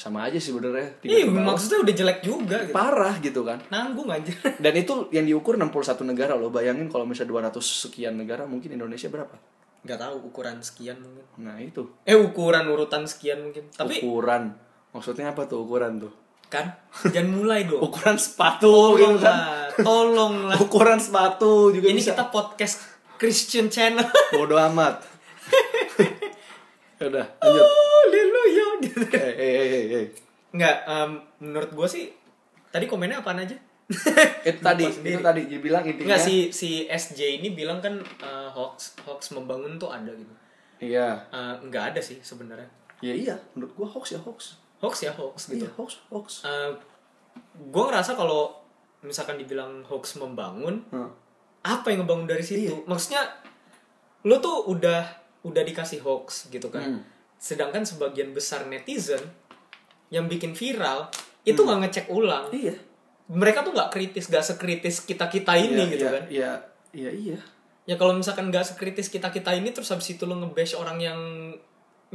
Speaker 2: Sama aja sih sebenarnya. Tiga
Speaker 1: Iya,
Speaker 2: ke bawah.
Speaker 1: maksudnya udah jelek juga gitu.
Speaker 2: Parah gitu kan.
Speaker 1: Nanggung anjir.
Speaker 2: Dan itu yang diukur 61 negara loh. Bayangin kalau misalnya 200 sekian negara mungkin Indonesia berapa?
Speaker 1: Gak tahu ukuran sekian mungkin.
Speaker 2: Nah itu.
Speaker 1: Eh ukuran urutan sekian mungkin. Tapi
Speaker 2: Ukuran. Maksudnya apa tuh ukuran tuh?
Speaker 1: kan jangan mulai dong.
Speaker 2: Ukuran sepatu gitu kan.
Speaker 1: Tolonglah, tolonglah.
Speaker 2: Ukuran sepatu juga
Speaker 1: Ini
Speaker 2: bisa.
Speaker 1: kita podcast Christian channel.
Speaker 2: Bodo amat. Ya Udah, lanjut.
Speaker 1: Haleluya gitu.
Speaker 2: Eh, eh, eh, eh, eh.
Speaker 1: Enggak, em, menurut gue sih tadi komennya apaan aja?
Speaker 2: Itu tadi,
Speaker 1: Lupa sendiri.
Speaker 2: itu tadi dia bilang intinya.
Speaker 1: Enggak si si SJ ini bilang kan eh, hoax hoax membangun tuh ada gitu.
Speaker 2: Iya.
Speaker 1: Eh, enggak ada sih sebenarnya.
Speaker 2: Ya iya, menurut gua hoax ya hoax.
Speaker 1: Hoax ya hoax gitu.
Speaker 2: Iya, hoax, hoax.
Speaker 1: gue ngerasa kalau misalkan dibilang hoax membangun,
Speaker 2: Heeh.
Speaker 1: apa yang ngebangun dari
Speaker 2: Iya.
Speaker 1: situ? Maksudnya lu tuh udah udah dikasih hoax gitu kan.
Speaker 2: Hmm.
Speaker 1: Sedangkan sebagian besar netizen yang bikin viral itu nggak ngecek ulang.
Speaker 2: Hmm. Iya.
Speaker 1: Mereka tuh nggak kritis, gak sekritis kita-kita ini
Speaker 2: Iya,
Speaker 1: gitu
Speaker 2: iya,
Speaker 1: kan.
Speaker 2: Iya, iya, iya.
Speaker 1: Ya kalau misalkan gak sekritis kita-kita ini terus habis itu lu nge-bash orang yang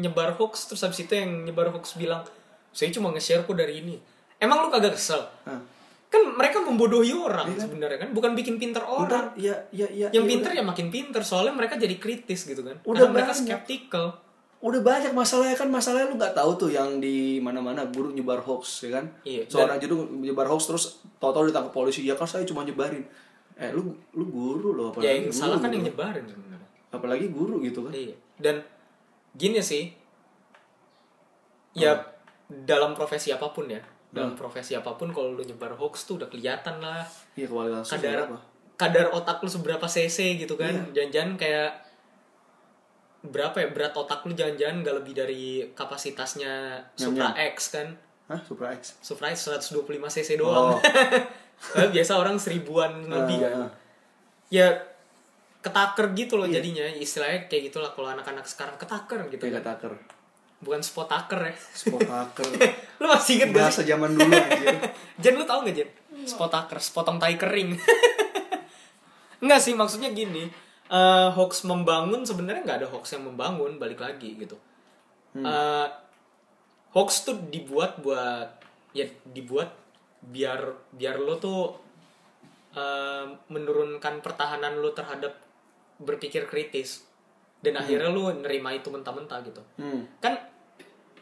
Speaker 1: nyebar hoax, terus habis itu yang nyebar hoax bilang, "Saya cuma nge-share kok dari ini." Emang lu kagak kesel?
Speaker 2: Nah,
Speaker 1: Kan mereka membodohi orang sebenarnya kan, bukan bikin pinter orang.
Speaker 2: Iya. udah, iya, iya, iya.
Speaker 1: yang
Speaker 2: iya,
Speaker 1: pinter
Speaker 2: udah.
Speaker 1: ya makin pinter soalnya mereka jadi kritis gitu kan
Speaker 2: Udah
Speaker 1: karena mereka
Speaker 2: banyak.
Speaker 1: skeptical
Speaker 2: Udah banyak masalahnya kan masalahnya lu nggak tahu tuh yang di mana-mana guru nyebar hoax ya kan.
Speaker 1: Iya,
Speaker 2: Seorang jadi nyebar hoax terus tau-tau ditangkap polisi ya kan saya cuma nyebarin. Eh lu lu guru loh apalagi.
Speaker 1: ya yang
Speaker 2: guru,
Speaker 1: salah kan
Speaker 2: gitu.
Speaker 1: yang nyebarin sebenarnya
Speaker 2: apalagi guru gitu kan.
Speaker 1: iya dan gini sih ya dalam profesi apapun ya
Speaker 2: Hmm.
Speaker 1: dalam profesi apapun kalau lu nyebar hoax tuh udah kelihatan lah
Speaker 2: Iya kewalian langsung
Speaker 1: kadar
Speaker 2: apa?
Speaker 1: kadar otak lu seberapa cc gitu kan
Speaker 2: Iya.
Speaker 1: jangan-jangan kayak berapa ya berat otak lu jangan-jangan nggak lebih dari kapasitasnya Supra X kan
Speaker 2: Hah, Supra X.
Speaker 1: Supra X 125 cc doang
Speaker 2: Oh.
Speaker 1: Soalnya biasa orang seribuan lebih kan
Speaker 2: Ah, ah.
Speaker 1: ya ketaker gitu loh
Speaker 2: Iya.
Speaker 1: jadinya istilahnya kayak gitulah kalau anak-anak sekarang ketaker gitu
Speaker 2: Kayak kataker.
Speaker 1: bukan spotaker ya
Speaker 2: Spotaker.
Speaker 1: lu masih inget gak sih
Speaker 2: Bahasa zaman dulu anjir.
Speaker 1: Jen lu tau gak Jen spotaker sepotong tai kering Enggak sih maksudnya gini eh, hoax membangun sebenarnya nggak ada hoax yang membangun balik lagi gitu Eh, hoax tuh dibuat buat ya dibuat biar biar lo tuh eh, menurunkan pertahanan lo terhadap berpikir kritis dan akhirnya lo nerima itu mentah-mentah gitu
Speaker 2: Hmm.
Speaker 1: kan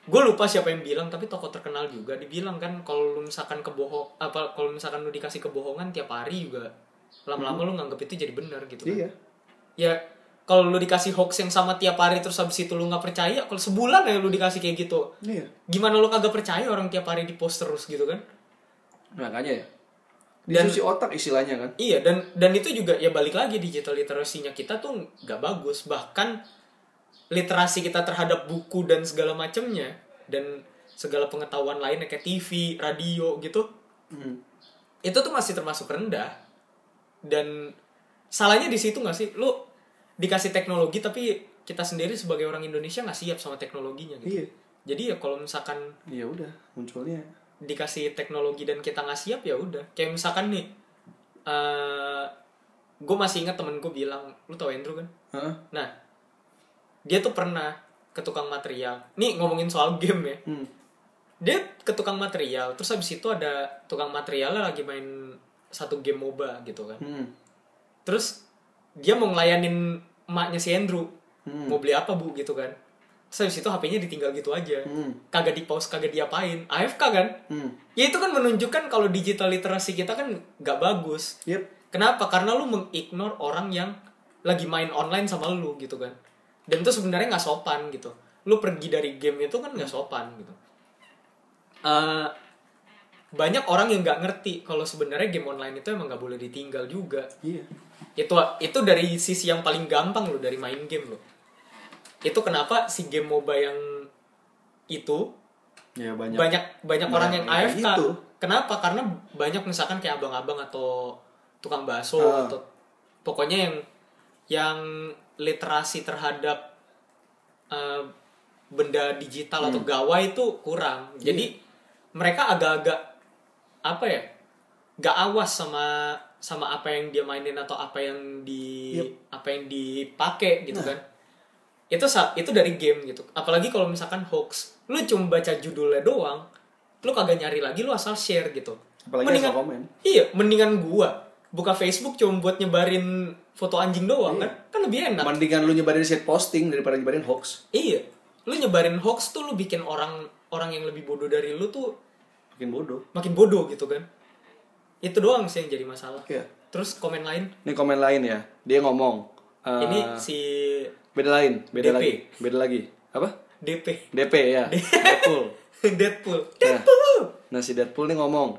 Speaker 1: gue lupa siapa yang bilang tapi tokoh terkenal juga dibilang kan kalau lu misalkan kebohong apa kalau misalkan lu dikasih kebohongan tiap hari juga lama-lama lu nganggep itu jadi benar gitu kan
Speaker 2: Iya.
Speaker 1: ya kalau lu dikasih hoax yang sama tiap hari terus habis itu lu nggak percaya kalau sebulan ya lu dikasih kayak gitu
Speaker 2: Iya.
Speaker 1: gimana lu kagak percaya orang tiap hari di post terus gitu kan
Speaker 2: Makanya ya.
Speaker 1: Dan-
Speaker 2: Dicuci otak istilahnya kan.
Speaker 1: Iya dan dan itu juga ya balik lagi digital literasinya kita tuh nggak bagus bahkan literasi kita terhadap buku dan segala macamnya dan segala pengetahuan lainnya kayak TV, radio gitu
Speaker 2: Hmm.
Speaker 1: itu tuh masih termasuk rendah dan salahnya di situ nggak sih lu dikasih teknologi tapi kita sendiri sebagai orang Indonesia nggak siap sama teknologinya gitu
Speaker 2: Iya.
Speaker 1: jadi ya kalau misalkan
Speaker 2: Ya udah, munculnya
Speaker 1: dikasih teknologi dan kita nggak siap ya udah kayak misalkan nih eh gue masih ingat temen gue bilang lu tau Andrew kan
Speaker 2: Hah?
Speaker 1: nah dia tuh pernah ke tukang material nih ngomongin soal game ya
Speaker 2: Hmm.
Speaker 1: dia ke tukang material terus habis itu ada tukang materialnya lagi main satu game moba gitu kan
Speaker 2: Hmm.
Speaker 1: terus dia mau ngelayanin emaknya si Andrew
Speaker 2: Hmm.
Speaker 1: mau beli apa bu gitu kan terus habis itu HP-nya ditinggal gitu aja
Speaker 2: Hmm.
Speaker 1: kagak di pause kagak diapain AFK kan
Speaker 2: Hmm.
Speaker 1: ya itu kan menunjukkan kalau digital literasi kita kan nggak bagus
Speaker 2: Yep.
Speaker 1: kenapa karena lu mengignore orang yang lagi main online sama lu gitu kan dan itu sebenarnya nggak sopan gitu lu pergi dari game itu kan nggak sopan gitu Eh, banyak orang yang nggak ngerti kalau sebenarnya game online itu emang nggak boleh ditinggal juga
Speaker 2: Iya.
Speaker 1: itu itu dari sisi yang paling gampang loh dari main game loh itu kenapa si game moba yang itu
Speaker 2: Ya banyak.
Speaker 1: banyak banyak orang yang
Speaker 2: banyak yang
Speaker 1: AFK
Speaker 2: gitu.
Speaker 1: kenapa karena banyak misalkan kayak abang-abang atau tukang bakso
Speaker 2: Ah.
Speaker 1: atau pokoknya yang yang literasi terhadap eh, benda digital atau
Speaker 2: Hmm.
Speaker 1: gawai itu kurang
Speaker 2: Iya.
Speaker 1: jadi mereka agak-agak apa ya gak awas sama sama apa yang dia mainin atau apa yang di apa yang dipakai
Speaker 2: Nah.
Speaker 1: gitu kan itu sa- itu dari game gitu apalagi kalau misalkan hoax lu cuma baca judulnya doang lu kagak nyari lagi lu asal share gitu
Speaker 2: Apalagi
Speaker 1: mendingan
Speaker 2: asal komen.
Speaker 1: iya mendingan gua buka Facebook cuma buat nyebarin foto anjing
Speaker 2: Iya.
Speaker 1: doang kan kan lebih enak
Speaker 2: Mendingan lu nyebarin shit posting daripada nyebarin hoax.
Speaker 1: iya lu nyebarin hoax tuh lu bikin orang orang yang lebih bodoh dari lu tuh
Speaker 2: Makin bodoh.
Speaker 1: makin bodoh gitu kan itu doang sih yang jadi masalah
Speaker 2: Iya.
Speaker 1: terus komen lain
Speaker 2: Ini komen lain ya. Dia ngomong. eh,
Speaker 1: ini si
Speaker 2: beda lain,
Speaker 1: DP.
Speaker 2: beda lagi, beda lagi. Apa?
Speaker 1: DP
Speaker 2: DP ya. Deadpool.
Speaker 1: Deadpool
Speaker 2: Nah.
Speaker 1: Deadpool
Speaker 2: Nah si Deadpool nih ngomong,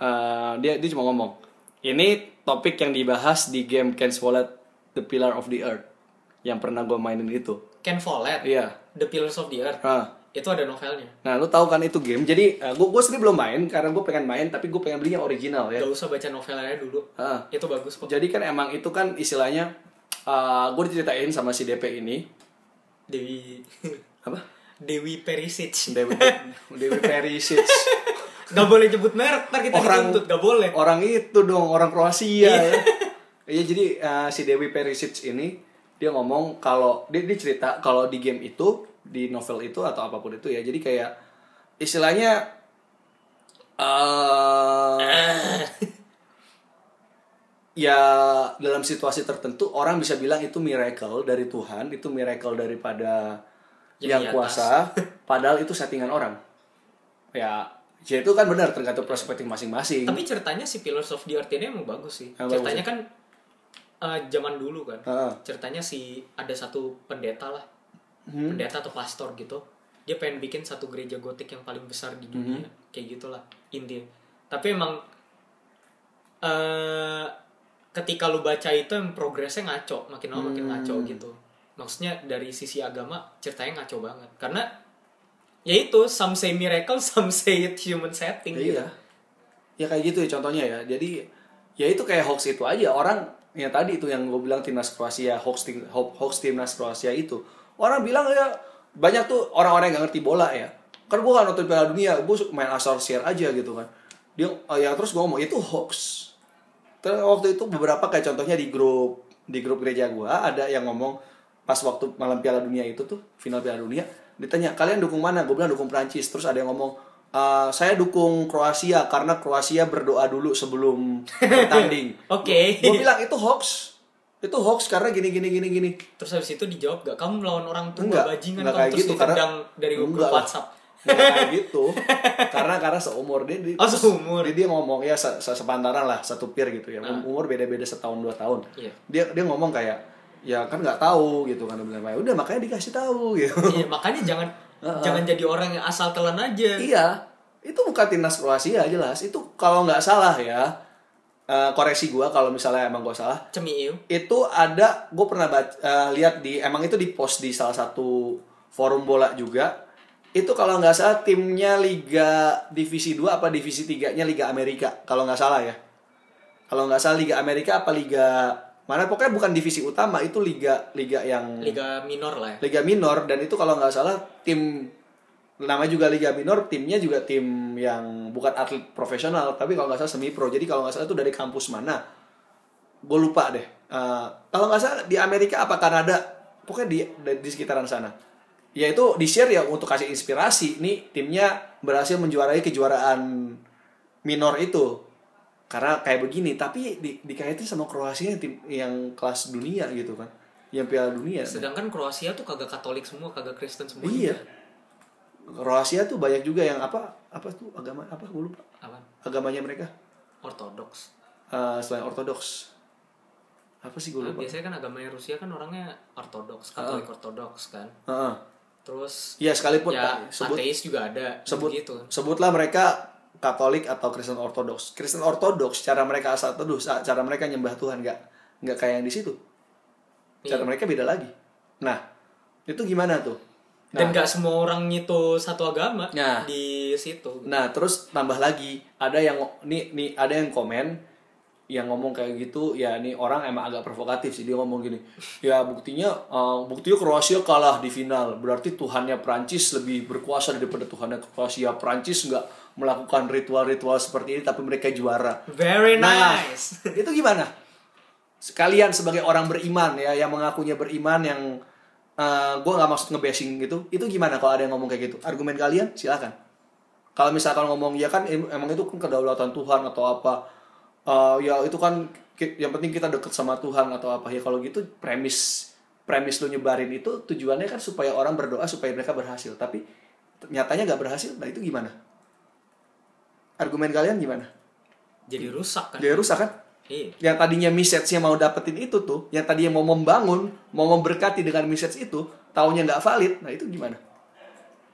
Speaker 2: eh, dia dia cuma ngomong, ini topik yang dibahas di game Can't Wallet The Pillar of the Earth yang pernah gue mainin itu.
Speaker 1: Ken Follett
Speaker 2: Iya.
Speaker 1: The Pillars of the Earth
Speaker 2: Nah,
Speaker 1: itu ada novelnya
Speaker 2: nah lu tahu kan itu game. Jadi gue gue sendiri belum main karena gue pengen main tapi gue pengen beli yang original ya.
Speaker 1: Gak usah baca novelnya dulu.
Speaker 2: Ah.
Speaker 1: Itu bagus kok.
Speaker 2: Jadi kan emang itu kan istilahnya gue diceritain sama si DP ini
Speaker 1: Dewi
Speaker 2: apa?
Speaker 1: Dewi Perisic.
Speaker 2: Dewi Dewi Perisic.
Speaker 1: Gak boleh nyebut merek, ntar kita
Speaker 2: Orang-
Speaker 1: dituntut. Gak boleh.
Speaker 2: orang itu dong orang Kroasia ya. Iya jadi eh, si Dewi Perisic ini dia ngomong kalau dia, dia cerita kalau di game itu di novel itu atau apapun itu ya jadi kayak istilahnya eh ya dalam situasi tertentu orang bisa bilang itu miracle dari Tuhan itu miracle daripada
Speaker 1: Yang
Speaker 2: yang
Speaker 1: di atas.
Speaker 2: kuasa padahal itu settingan orang ya jadi itu kan benar tergantung perspektif masing-masing
Speaker 1: Tapi ceritanya si Pillars of the Earth ini emang bagus sih.
Speaker 2: Ah, bagus
Speaker 1: ceritanya kan eh, zaman dulu kan.
Speaker 2: Ah.
Speaker 1: Ceritanya si ada satu pendeta lah.
Speaker 2: Hmm.
Speaker 1: Pendeta atau pastor gitu. Dia pengen bikin satu gereja gotik yang paling besar di dunia.
Speaker 2: Hmm.
Speaker 1: Kayak gitulah intinya. Tapi emang eh ketika lu baca itu yang progresnya ngaco, makin lama
Speaker 2: Hmm.
Speaker 1: makin ngaco gitu. Maksudnya dari sisi agama ceritanya ngaco banget. Karena ya itu some say miracle, some say it human setting gitu.
Speaker 2: Iya. Ya kayak gitu ya contohnya ya. Jadi ya itu kayak hoax itu aja orang ya tadi itu yang gue bilang timnas Kroasia hoax tim ho- hoax timnas Kroasia itu orang bilang ya banyak tuh orang-orang yang gak ngerti bola ya kan gue kan nonton Piala Dunia gue main asal share aja gitu kan dia oh ya terus gue ngomong itu hoax terus waktu itu beberapa kayak contohnya di grup di grup gereja gue ada yang ngomong pas waktu malam Piala Dunia itu tuh final Piala Dunia ditanya kalian dukung mana gue bilang dukung Prancis terus ada yang ngomong "Eh, saya dukung Kroasia karena Kroasia berdoa dulu sebelum bertanding
Speaker 1: Oke.
Speaker 2: gue bilang itu hoax itu hoax karena gini gini gini gini
Speaker 1: Terus habis itu dijawab gak kamu melawan orang tua
Speaker 2: Enggak,
Speaker 1: bajingan
Speaker 2: enggak
Speaker 1: kamu
Speaker 2: kayak
Speaker 1: terus
Speaker 2: gitu, karena-
Speaker 1: ditendang dari
Speaker 2: Enggak
Speaker 1: grup
Speaker 2: lah.
Speaker 1: WhatsApp.
Speaker 2: Nggak kayak gitu karena karena seumur dia, dia
Speaker 1: Oh, seumur.
Speaker 2: dia, dia ngomong ya se- se- sepantaran lah satu peer gitu ya
Speaker 1: Ah.
Speaker 2: umur beda beda setahun dua tahun
Speaker 1: Iya.
Speaker 2: dia dia ngomong kayak ya kan nggak tahu gitu kan dia bilang ya udah makanya dikasih tahu gitu
Speaker 1: Iya, makanya jangan jangan jadi orang yang asal telan aja.
Speaker 2: iya itu bukan timnas Kroasia jelas itu kalau nggak salah ya eh, koreksi gua kalau misalnya emang gua salah
Speaker 1: Cemiu.
Speaker 2: itu ada gue pernah baca- eh, lihat di emang itu di post di salah satu forum bola juga itu kalau nggak salah timnya liga divisi 2 apa divisi 3 nya liga Amerika kalau nggak salah ya kalau nggak salah liga Amerika apa liga mana pokoknya bukan divisi utama itu liga liga yang
Speaker 1: Liga minor lah ya.
Speaker 2: liga minor dan itu kalau nggak salah tim namanya juga Liga Minor, timnya juga tim yang bukan atlet profesional, tapi kalau nggak salah semi pro. Jadi kalau nggak salah itu dari kampus mana? Gue lupa deh. Eh, kalau nggak salah di Amerika apa Kanada, pokoknya di di- di sekitaran sana. Ya itu di share ya untuk kasih inspirasi. Nih timnya berhasil menjuarai kejuaraan minor itu. Karena kayak begini, tapi di, dikaitin sama Kroasia yang tim yang kelas dunia gitu kan. Yang Piala Dunia.
Speaker 1: Sedangkan Kroasia tuh kagak Katolik semua, kagak Kristen semua.
Speaker 2: Iya. Kroasia tuh banyak juga yang apa apa tuh agama apa gue lupa
Speaker 1: Apa?
Speaker 2: agamanya mereka
Speaker 1: Ortodoks.
Speaker 2: Eh, selain ortodoks apa sih gue
Speaker 1: Nah,
Speaker 2: lupa
Speaker 1: biasanya kan agamanya Rusia kan orangnya ortodoks, Katolik ortodoks kan.
Speaker 2: Heeh.
Speaker 1: Terus
Speaker 2: ya sekalipun
Speaker 1: ya
Speaker 2: Pak, sebut
Speaker 1: ateis juga ada
Speaker 2: sebut
Speaker 1: gitu.
Speaker 2: sebutlah mereka Katolik atau Kristen Ortodoks Kristen Ortodoks cara mereka asal teduh sa- cara mereka nyembah Tuhan nggak nggak kayak yang di situ cara
Speaker 1: Iya.
Speaker 2: mereka beda lagi nah itu gimana tuh
Speaker 1: Dan gak semua orang itu satu agama
Speaker 2: Nah.
Speaker 1: di situ.
Speaker 2: Nah, terus tambah lagi ada yang nih nih ada yang komen yang ngomong kayak gitu ya nih orang emang agak provokatif sih dia ngomong gini ya buktinya eh, buktinya Kroasia kalah di final berarti Tuhannya Prancis lebih berkuasa daripada Tuhannya Kroasia Prancis nggak melakukan ritual-ritual seperti ini tapi mereka juara
Speaker 1: Very
Speaker 2: Nah.
Speaker 1: nice.
Speaker 2: itu gimana sekalian sebagai orang beriman ya yang mengakunya beriman yang gue nggak maksud ngebashing gitu itu gimana kalau ada yang ngomong kayak gitu argumen kalian silakan kalau misalkan ngomong ya kan em- emang itu kan kedaulatan Tuhan atau apa Eh, ya itu kan ki- yang penting kita deket sama Tuhan atau apa ya kalau gitu premis premis lu nyebarin itu tujuannya kan supaya orang berdoa supaya mereka berhasil tapi nyatanya nggak berhasil nah itu gimana argumen kalian gimana
Speaker 1: Jadi rusak kan.
Speaker 2: dia rusak kan
Speaker 1: Iya.
Speaker 2: yang tadinya message-nya mau dapetin itu tuh, yang tadinya mau membangun, mau memberkati dengan message itu, taunya nggak valid, nah itu gimana?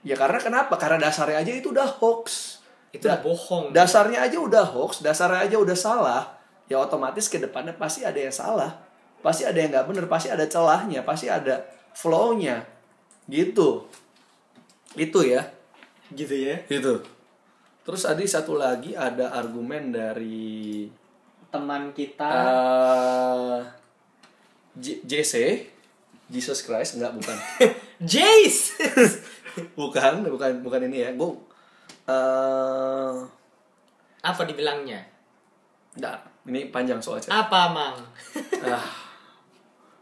Speaker 2: Ya karena kenapa? Karena dasarnya aja itu udah hoax. Nah,
Speaker 1: Itu udah bohong.
Speaker 2: Dasarnya aja udah hoax, dasarnya aja udah salah. Ya otomatis ke depannya pasti ada yang salah. Pasti ada yang nggak bener, pasti ada celahnya, pasti ada flow-nya. Gitu. Itu ya.
Speaker 1: gitu ya.
Speaker 2: Itu. Terus tadi satu lagi ada argumen dari
Speaker 1: Teman kita
Speaker 2: eh J- JC Jesus Christ enggak bukan
Speaker 1: Jace.
Speaker 2: bukan bukan bukan ini ya gue eh
Speaker 1: Apa dibilangnya?
Speaker 2: enggak ini panjang soalnya
Speaker 1: Apa, Mang?
Speaker 2: ah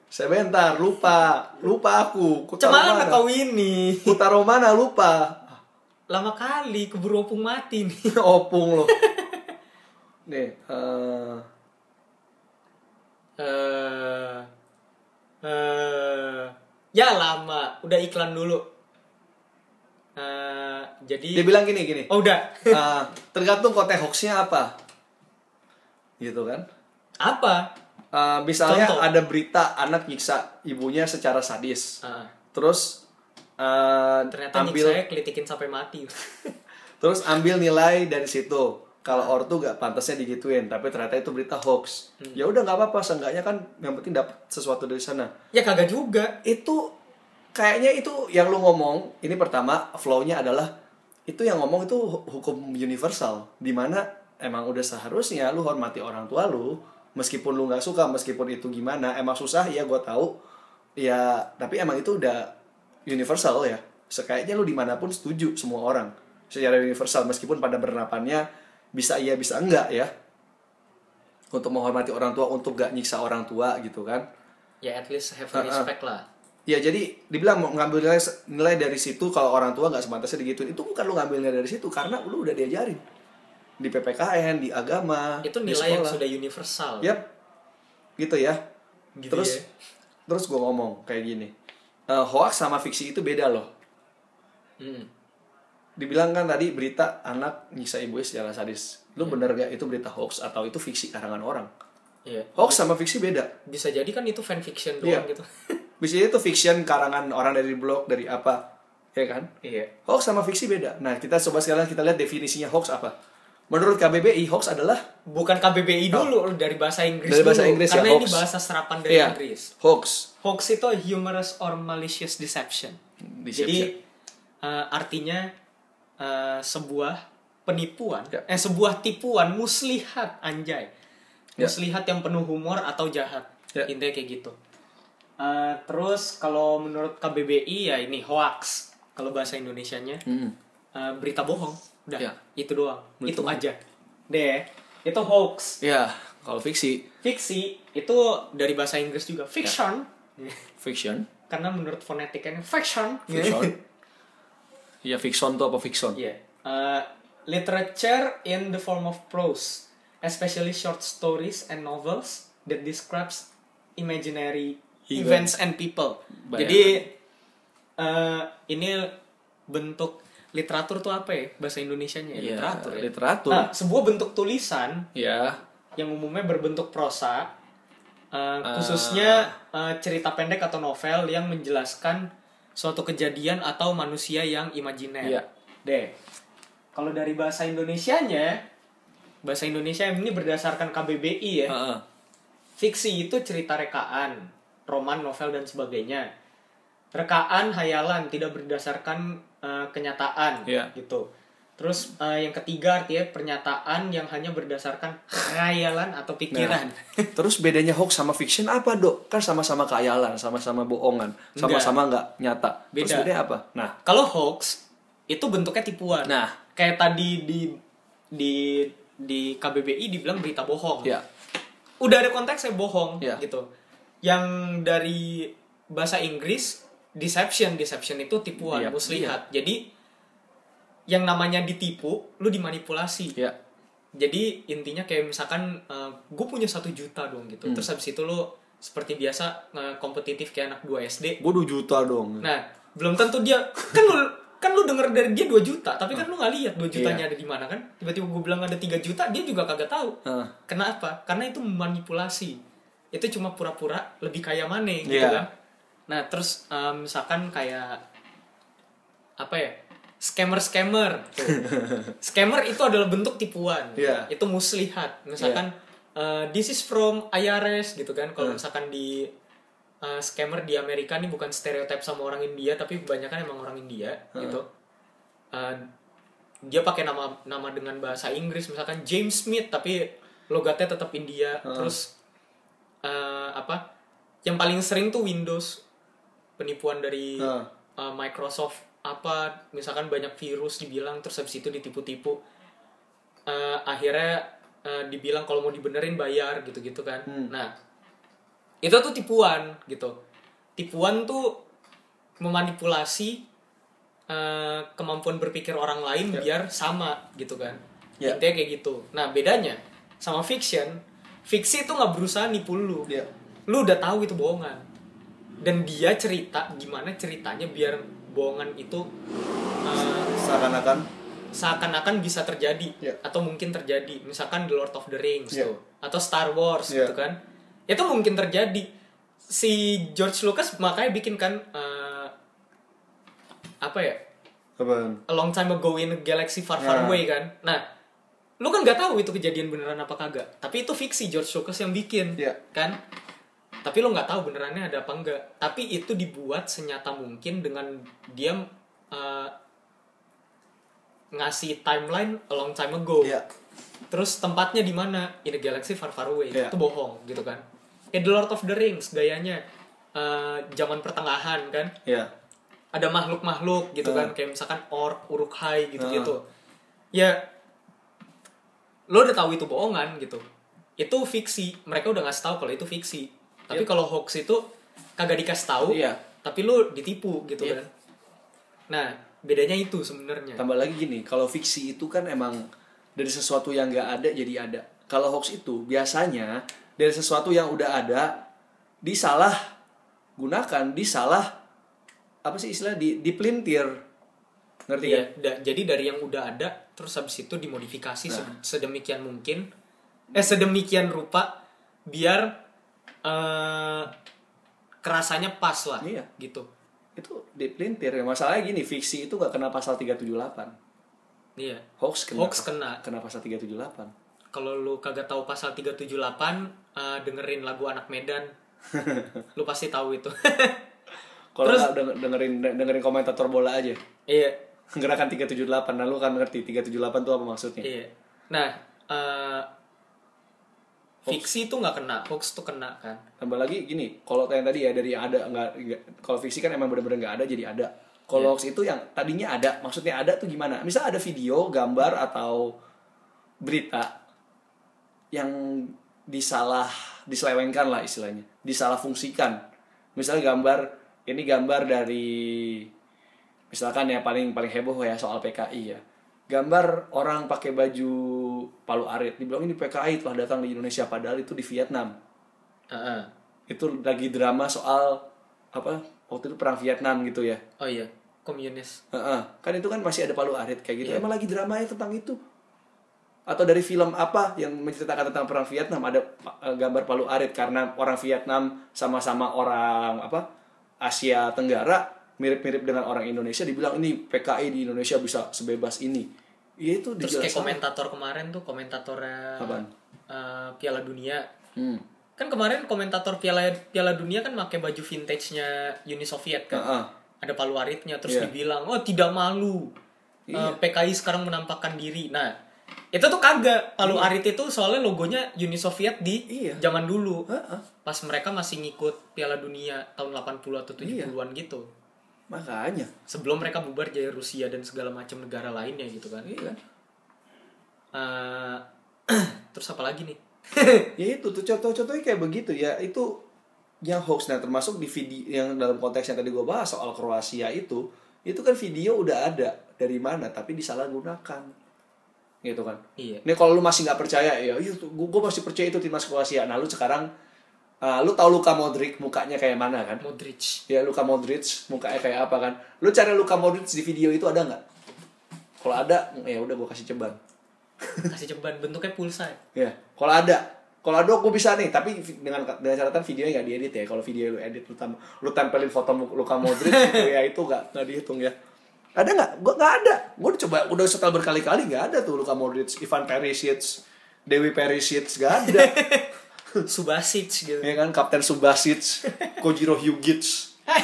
Speaker 2: sebentar lupa lupa aku ku taruh
Speaker 1: Cemana
Speaker 2: mana
Speaker 1: kau ini?
Speaker 2: ku taruh mana lupa
Speaker 1: Lama kali keburu opung mati nih.
Speaker 2: opung lo nih eh
Speaker 1: eh eh ya lama, udah iklan dulu. eh
Speaker 2: dia
Speaker 1: jadi
Speaker 2: bilang gini gini
Speaker 1: oh udah.
Speaker 2: Eh, tergantung konteks hoaxnya apa gitu kan
Speaker 1: Apa?
Speaker 2: Eh, misalnya
Speaker 1: Contoh.
Speaker 2: ada berita anak nyiksa ibunya secara sadis.
Speaker 1: Ah,
Speaker 2: Terus eh,
Speaker 1: ternyata ya?
Speaker 2: ambil
Speaker 1: saya kelitikin sampai mati.
Speaker 2: terus ambil nilai dari situ. Kalau ortu gak pantasnya digituin, tapi ternyata itu berita hoax.
Speaker 1: Hmm.
Speaker 2: Ya udah nggak apa-apa, seenggaknya kan yang penting dapat sesuatu dari sana.
Speaker 1: ya kagak juga.
Speaker 2: Itu kayaknya itu yang lu ngomong, ini pertama flow-nya adalah itu yang ngomong itu hu- hukum universal di mana emang udah seharusnya lu hormati orang tua lu meskipun lu nggak suka meskipun itu gimana emang susah ya gue tahu ya tapi emang itu udah universal ya sekayaknya lu dimanapun setuju semua orang secara universal meskipun pada bernapannya bisa iya bisa enggak ya untuk menghormati orang tua untuk gak nyiksa orang tua gitu kan
Speaker 1: Ya at least have
Speaker 2: Ah,
Speaker 1: a respect lah.
Speaker 2: Ya jadi dibilang mau ngambil nilai, nilai dari situ kalau orang tua nggak sepantasnya digituin itu bukan lu ngambil nilai dari situ karena lu udah diajarin di PPKN di agama
Speaker 1: Itu
Speaker 2: di
Speaker 1: nilai yang
Speaker 2: sekolah.
Speaker 1: sudah universal.
Speaker 2: Yap. gitu ya
Speaker 1: Gitu
Speaker 2: terus
Speaker 1: ya.
Speaker 2: terus gue ngomong kayak gini Eh hoax sama fiksi itu beda loh
Speaker 1: Mm.
Speaker 2: dibilang kan tadi berita anak nyiksa ibu secara sadis lu bener gak itu berita hoax atau itu fiksi karangan orang
Speaker 1: Iya.
Speaker 2: hoax sama fiksi beda
Speaker 1: Bisa jadi kan itu fanfiction
Speaker 2: Oh. Iya.
Speaker 1: doang gitu.
Speaker 2: bisa itu fiction karangan orang dari blog dari apa ya kan
Speaker 1: Iya.
Speaker 2: Hoax sama fiksi beda. Nah, kita coba sekarang kita lihat definisinya hoax apa. Menurut KBBI, hoax adalah
Speaker 1: Bukan KBBI dulu dari bahasa Inggris
Speaker 2: Oh. Dari bahasa
Speaker 1: dulu.
Speaker 2: Inggris ya,
Speaker 1: Karena ini
Speaker 2: hoax.
Speaker 1: bahasa serapan dari
Speaker 2: Iya,
Speaker 1: Inggris.
Speaker 2: hoax.
Speaker 1: Hoax itu humorous or malicious deception.
Speaker 2: Deception.
Speaker 1: Jadi eh, artinya eh, sebuah penipuan,
Speaker 2: Ya.
Speaker 1: eh sebuah tipuan muslihat anjay.
Speaker 2: Ya.
Speaker 1: Muslihat yang penuh humor atau jahat.
Speaker 2: Ya.
Speaker 1: Intinya kayak gitu. Eh, terus kalau menurut KBBI ya ini hoax. kalau bahasa Indonesianya
Speaker 2: Mm.
Speaker 1: eh, berita bohong udah
Speaker 2: Ya.
Speaker 1: itu doang
Speaker 2: Berita
Speaker 1: itu
Speaker 2: bohong.
Speaker 1: aja deh itu hoax
Speaker 2: Ya, kalau fiksi,
Speaker 1: fiksi itu dari bahasa Inggris juga
Speaker 2: Ya.
Speaker 1: fiction
Speaker 2: fiction,
Speaker 1: karena menurut fonetiknya fiction
Speaker 2: fiction. ya fiction tuh apa fiction?
Speaker 1: Yeah. Uh, literature in the form of prose, especially short stories and novels that describes imaginary events,
Speaker 2: Events.
Speaker 1: and people.
Speaker 2: Bayangan.
Speaker 1: Jadi uh, ini bentuk literatur tuh apa ya bahasa Indonesianya ya?
Speaker 2: Ya, Ah.
Speaker 1: literatur ya.
Speaker 2: literatur.
Speaker 1: Nah, sebuah bentuk tulisan
Speaker 2: Ya,
Speaker 1: yang umumnya berbentuk prosa, uh, khususnya uh, cerita pendek atau novel yang menjelaskan suatu kejadian atau manusia yang imajiner.
Speaker 2: Iya.
Speaker 1: Deh. Kalau dari bahasa Indonesianya, bahasa Indonesia yang ini berdasarkan KBBI ya.
Speaker 2: Heeh.
Speaker 1: Fiksi itu cerita rekaan, roman, novel dan sebagainya. Rekaan hayalan tidak berdasarkan eh, kenyataan
Speaker 2: Iya.
Speaker 1: gitu. Terus eh, yang ketiga artinya pernyataan yang hanya berdasarkan khayalan atau pikiran.
Speaker 2: Nah. Terus bedanya hoax sama fiction apa dok? Kan sama-sama kayalan, sama-sama bohongan, sama-sama nggak nyata. Terus
Speaker 1: Beda.
Speaker 2: bedanya apa? Nah,
Speaker 1: Kalau hoax itu bentuknya tipuan.
Speaker 2: Nah.
Speaker 1: kayak tadi di di di KBBI dibilang berita bohong.
Speaker 2: ya,
Speaker 1: udah ada konteksnya bohong
Speaker 2: Iya.
Speaker 1: gitu. Yang dari bahasa Inggris deception, deception itu tipuan,
Speaker 2: Iya,
Speaker 1: muslihat. Jadi yang namanya ditipu, lu dimanipulasi.
Speaker 2: ya,
Speaker 1: Jadi intinya kayak misalkan gue punya satu juta dong gitu.
Speaker 2: Hmm.
Speaker 1: Terus habis itu lu seperti biasa eh, kompetitif kayak anak 2 SD.
Speaker 2: gue 2 juta dong.
Speaker 1: Nah, belum tentu dia kan lu kan lu denger dari dia 2 juta, tapi
Speaker 2: Hmm.
Speaker 1: kan lu nggak lihat 2 jutanya
Speaker 2: Iya.
Speaker 1: ada di mana kan. Tiba-tiba gue bilang ada 3 juta, dia juga kagak tahu.
Speaker 2: Heeh.
Speaker 1: Kenapa? Karena itu manipulasi. Itu cuma pura-pura lebih kaya Mane gitu
Speaker 2: Iya.
Speaker 1: kan. Nah, terus eh, misalkan kayak apa ya? Scammer-scammer. tuh. Scammer itu adalah bentuk tipuan.
Speaker 2: Iya.
Speaker 1: Itu muslihat. Misalkan eh, this is from IRS gitu kan.
Speaker 2: Iya.
Speaker 1: Kalau misalkan di eh, scammer di Amerika nih bukan stereotip sama orang India tapi kebanyakan emang orang India
Speaker 2: Iya.
Speaker 1: gitu. Eh, dia pakai nama nama dengan bahasa Inggris misalkan James Smith tapi logatnya tetap India. Terus eh, apa? Yang paling sering tuh Windows penipuan dari
Speaker 2: Heeh.
Speaker 1: uh, Microsoft apa misalkan banyak virus dibilang terus habis itu ditipu-tipu Uh, akhirnya uh, dibilang kalau mau dibenerin bayar gitu-gitu kan nah itu tuh tipuan gitu tipuan tuh memanipulasi uh, kemampuan berpikir orang lain biar sama gitu kan
Speaker 2: Ya.
Speaker 1: intinya kayak gitu nah bedanya sama fiction fiksi itu nggak berusaha nipu lu
Speaker 2: Ya.
Speaker 1: lu udah tahu itu bohongan dan dia cerita gimana ceritanya biar bohongan itu uh,
Speaker 2: Seakan-akan.
Speaker 1: seakan-akan bisa terjadi
Speaker 2: Ya.
Speaker 1: atau mungkin terjadi misalkan The Lord of the Rings
Speaker 2: Ya.
Speaker 1: tuh atau Star Wars
Speaker 2: Ya.
Speaker 1: gitu kan itu mungkin terjadi si George Lucas makanya bikin kan uh, apa ya
Speaker 2: Apa?
Speaker 1: a long time ago in a galaxy far far
Speaker 2: Nah.
Speaker 1: away kan nah lu kan nggak tahu itu kejadian beneran apa kagak tapi itu fiksi George Lucas yang bikin
Speaker 2: Iya.
Speaker 1: kan tapi lu nggak tahu benerannya ada apa enggak tapi itu dibuat senyata mungkin dengan dia eh, ngasih timeline a long time ago
Speaker 2: Ya.
Speaker 1: terus tempatnya di mana in a galaxy far far away
Speaker 2: Iya.
Speaker 1: itu bohong gitu kan kayak The Lord of the Rings gayanya eh, zaman pertengahan kan
Speaker 2: Ya.
Speaker 1: ada makhluk-makhluk gitu
Speaker 2: Hmm.
Speaker 1: kan kayak misalkan orc, uruk-hai gitu-gitu. Ya lo udah tahu itu bohongan gitu. Itu fiksi. Mereka udah ngasih tahu kalau itu fiksi. Tapi kalau hoax itu kagak dikasih tahu.
Speaker 2: Iya.
Speaker 1: Tapi lo ditipu gitu
Speaker 2: Iya.
Speaker 1: kan. Nah, bedanya itu sebenarnya.
Speaker 2: Tambah lagi gini, kalau fiksi itu kan emang dari sesuatu yang nggak ada jadi ada. Kalau hoax itu biasanya dari sesuatu yang udah ada disalah gunakan, disalah apa sih istilah di dipelintir. Ngerti
Speaker 1: Iya,
Speaker 2: kan?
Speaker 1: da- jadi dari yang udah ada terus habis itu dimodifikasi
Speaker 2: Nah.
Speaker 1: se- sedemikian mungkin eh sedemikian rupa biar eh, kerasanya pas lah
Speaker 2: Iya.
Speaker 1: gitu.
Speaker 2: Itu dipelintir. Ya, Masalahnya gini, fiksi itu nggak kena pasal 378.
Speaker 1: Iya.
Speaker 2: Hoax kena.
Speaker 1: Hoax kena.
Speaker 2: Kena pasal 378.
Speaker 1: Kalau lu kagak tahu pasal 378, eh, dengerin lagu anak Medan. lu pasti tahu itu.
Speaker 2: Kalau nggak denger- dengerin dengerin komentator bola aja.
Speaker 1: iya,
Speaker 2: Gerakan 378, nah lu kan ngerti 378 itu apa maksudnya.
Speaker 1: iya. Nah, eh, fiksi itu nggak kena, hoax tuh kena kan.
Speaker 2: tambah lagi gini kalau yang tadi ya dari yang ada nggak nggak- kalau fiksi kan emang bener-bener nggak ada jadi ada Kalau hoax itu yang tadinya ada, maksudnya ada tuh gimana? Misal ada video, gambar atau berita yang disalah diselewengkan lah istilahnya, disalahfungsikan. Misalnya gambar ini gambar dari misalkan ya paling paling heboh ya soal PKI ya. Gambar orang pakai baju palu arit dibilang ini PKI telah datang di Indonesia padahal itu di Vietnam
Speaker 1: Heeh.
Speaker 2: itu lagi drama soal apa waktu itu perang Vietnam gitu ya
Speaker 1: Oh iya, komunis.
Speaker 2: Heeh. kan itu kan masih ada palu arit kayak
Speaker 1: Iya.
Speaker 2: gitu emang lagi dramanya tentang itu atau dari film apa yang menceritakan tentang perang Vietnam ada eh, gambar palu arit karena orang Vietnam sama-sama orang apa Asia Tenggara mirip-mirip dengan orang Indonesia dibilang ini PKI di Indonesia bisa sebebas ini ya itu
Speaker 1: Terus kayak
Speaker 2: dijelaskan
Speaker 1: komentator kemarin tuh komentatornya
Speaker 2: Apaan?
Speaker 1: eh, Piala Dunia.
Speaker 2: Hmm.
Speaker 1: Kan kemarin komentator Piala Piala Dunia kan pakai baju vintage-nya Uni Soviet kan.
Speaker 2: Heeh.
Speaker 1: Ada palu aritnya terus
Speaker 2: Iya.
Speaker 1: dibilang, "Oh, tidak malu." Eh,
Speaker 2: Iya.
Speaker 1: PKI sekarang menampakkan diri. Nah, itu tuh kagak. Palu arit itu soalnya logonya Uni Soviet di
Speaker 2: Iya.
Speaker 1: zaman dulu.
Speaker 2: Heeh.
Speaker 1: Pas mereka masih ngikut Piala Dunia tahun 80 atau
Speaker 2: Iya.
Speaker 1: 70-an gitu.
Speaker 2: makanya
Speaker 1: Sebelum mereka bubar jadi Rusia dan segala macam negara lainnya gitu kan.
Speaker 2: iya
Speaker 1: Eh, terus apa lagi nih?
Speaker 2: ya itu tuh contoh-contohnya kayak begitu ya itu yang hoax nah termasuk di video yang dalam konteks yang tadi gue bahas soal Kroasia itu itu kan video udah ada dari mana tapi disalahgunakan gitu kan
Speaker 1: Iya.
Speaker 2: ini kalau lu masih nggak percaya ya gue masih percaya itu timnas Kroasia nah lu sekarang eh, lu tahu Luka Modric mukanya kayak mana kan
Speaker 1: Modric.
Speaker 2: ya Luka Modric mukanya kayak apa kan lu cari Luka Modric di video itu ada nggak kalau ada ya udah gue kasih ceban
Speaker 1: Kasih ceban bentuknya pulsa. ya?
Speaker 2: Ya, kalau ada, kalau ada gue bisa nih, tapi vi- dengan dengan catatan videonya nggak diedit ya. Kalau video lu edit lu, tam, lu tempelin foto Mu- Luka Modric gitu ya itu nggak nggak dihitung ya. Ada nggak? Gue nggak ada. Gue udah coba udah setel berkali-kali nggak ada tuh Luka Modric, Ivan Perisic, Dewi Perisic nggak ada.
Speaker 1: Subasic gitu.
Speaker 2: ya kan Kapten Subasic, Kojiro Hugic,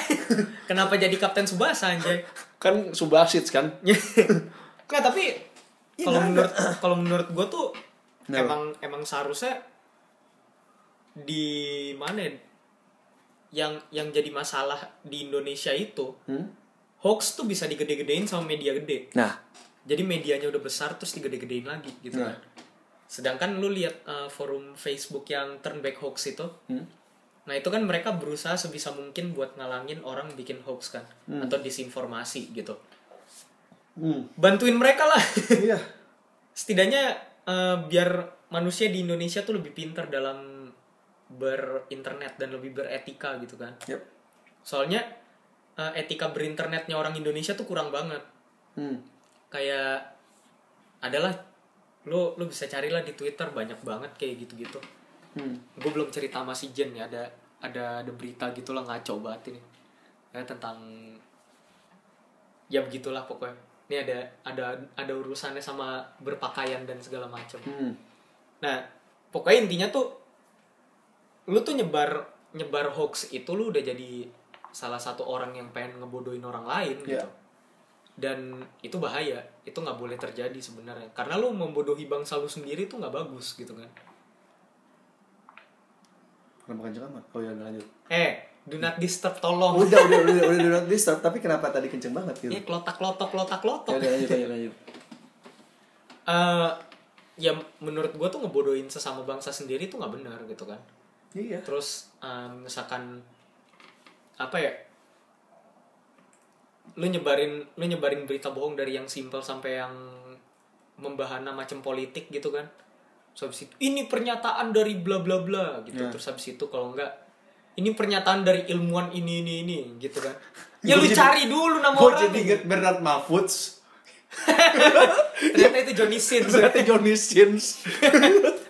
Speaker 1: Kenapa jadi Kapten Subasa anjay?
Speaker 2: kan Subasic kan.
Speaker 1: Nggak, tapi kalau
Speaker 2: Iya, nggak
Speaker 1: menurut kalau menurut gue tuh
Speaker 2: Kenapa?
Speaker 1: emang emang seharusnya di mana ya? yang yang jadi masalah di Indonesia itu
Speaker 2: Hmm?
Speaker 1: hoax tuh bisa digede-gedein sama media gede.
Speaker 2: Nah,
Speaker 1: Jadi medianya udah besar terus digede-gedein lagi gitu
Speaker 2: Nah.
Speaker 1: kan. Sedangkan lu lihat uh, forum Facebook yang turn back hoax itu.
Speaker 2: Hmm.
Speaker 1: Nah, itu kan mereka berusaha sebisa mungkin buat ngalangin orang bikin hoax kan atau disinformasi gitu.
Speaker 2: hmm.
Speaker 1: Bantuin mereka lah.
Speaker 2: iya.
Speaker 1: Setidaknya uh, biar manusia di Indonesia tuh lebih pinter dalam berinternet dan lebih beretika gitu kan.
Speaker 2: Yep.
Speaker 1: Soalnya uh, etika berinternetnya orang Indonesia tuh kurang banget.
Speaker 2: Hmm.
Speaker 1: kayak adalah lu lu bisa carilah di Twitter banyak banget kayak gitu-gitu.
Speaker 2: Hmm.
Speaker 1: Gue belum cerita sama si Jen ya ada ada ada berita gitu lah ngaco banget ini. Ya, tentang ya begitulah pokoknya. Ini ada ada ada urusannya sama berpakaian dan segala macam.
Speaker 2: Hmm.
Speaker 1: Nah, pokoknya intinya tuh lu tuh nyebar nyebar hoax itu lu udah jadi salah satu orang yang pengen ngebodohin orang lain
Speaker 2: Iya.
Speaker 1: gitu. Dan itu bahaya, itu nggak boleh terjadi sebenarnya. Karena lu membodohi bangsa lu sendiri tuh nggak bagus gitu kan.
Speaker 2: Kenapa kan ceramah? Oh ya, lanjut.
Speaker 1: Eh, do not disturb tolong. Eh,
Speaker 2: Udah, udah, udah, udah, do not disturb. Tapi kenapa tadi kenceng banget gitu?
Speaker 1: Ini klotak-klotok klotak-klotok.
Speaker 2: Ya udah lanjut lanjut lanjut.
Speaker 1: Eh, ya menurut gua tuh ngebodohin sesama bangsa sendiri tuh nggak benar gitu kan.
Speaker 2: Iya.
Speaker 1: terus um, misalkan apa ya lu nyebarin lu nyebarin berita bohong dari yang simpel sampai yang membahana macam politik gitu kan terus habis itu ini pernyataan dari bla bla bla gitu
Speaker 2: Ya.
Speaker 1: terus habis itu kalau enggak ini pernyataan dari ilmuwan ini ini ini gitu kan ya lu
Speaker 2: Gua jadi-
Speaker 1: cari dulu nama
Speaker 2: Gue
Speaker 1: orang
Speaker 2: jadi inget Bernard Mahfudz.
Speaker 1: ternyata itu Johnny Sins
Speaker 2: Berarti Johnny Sins.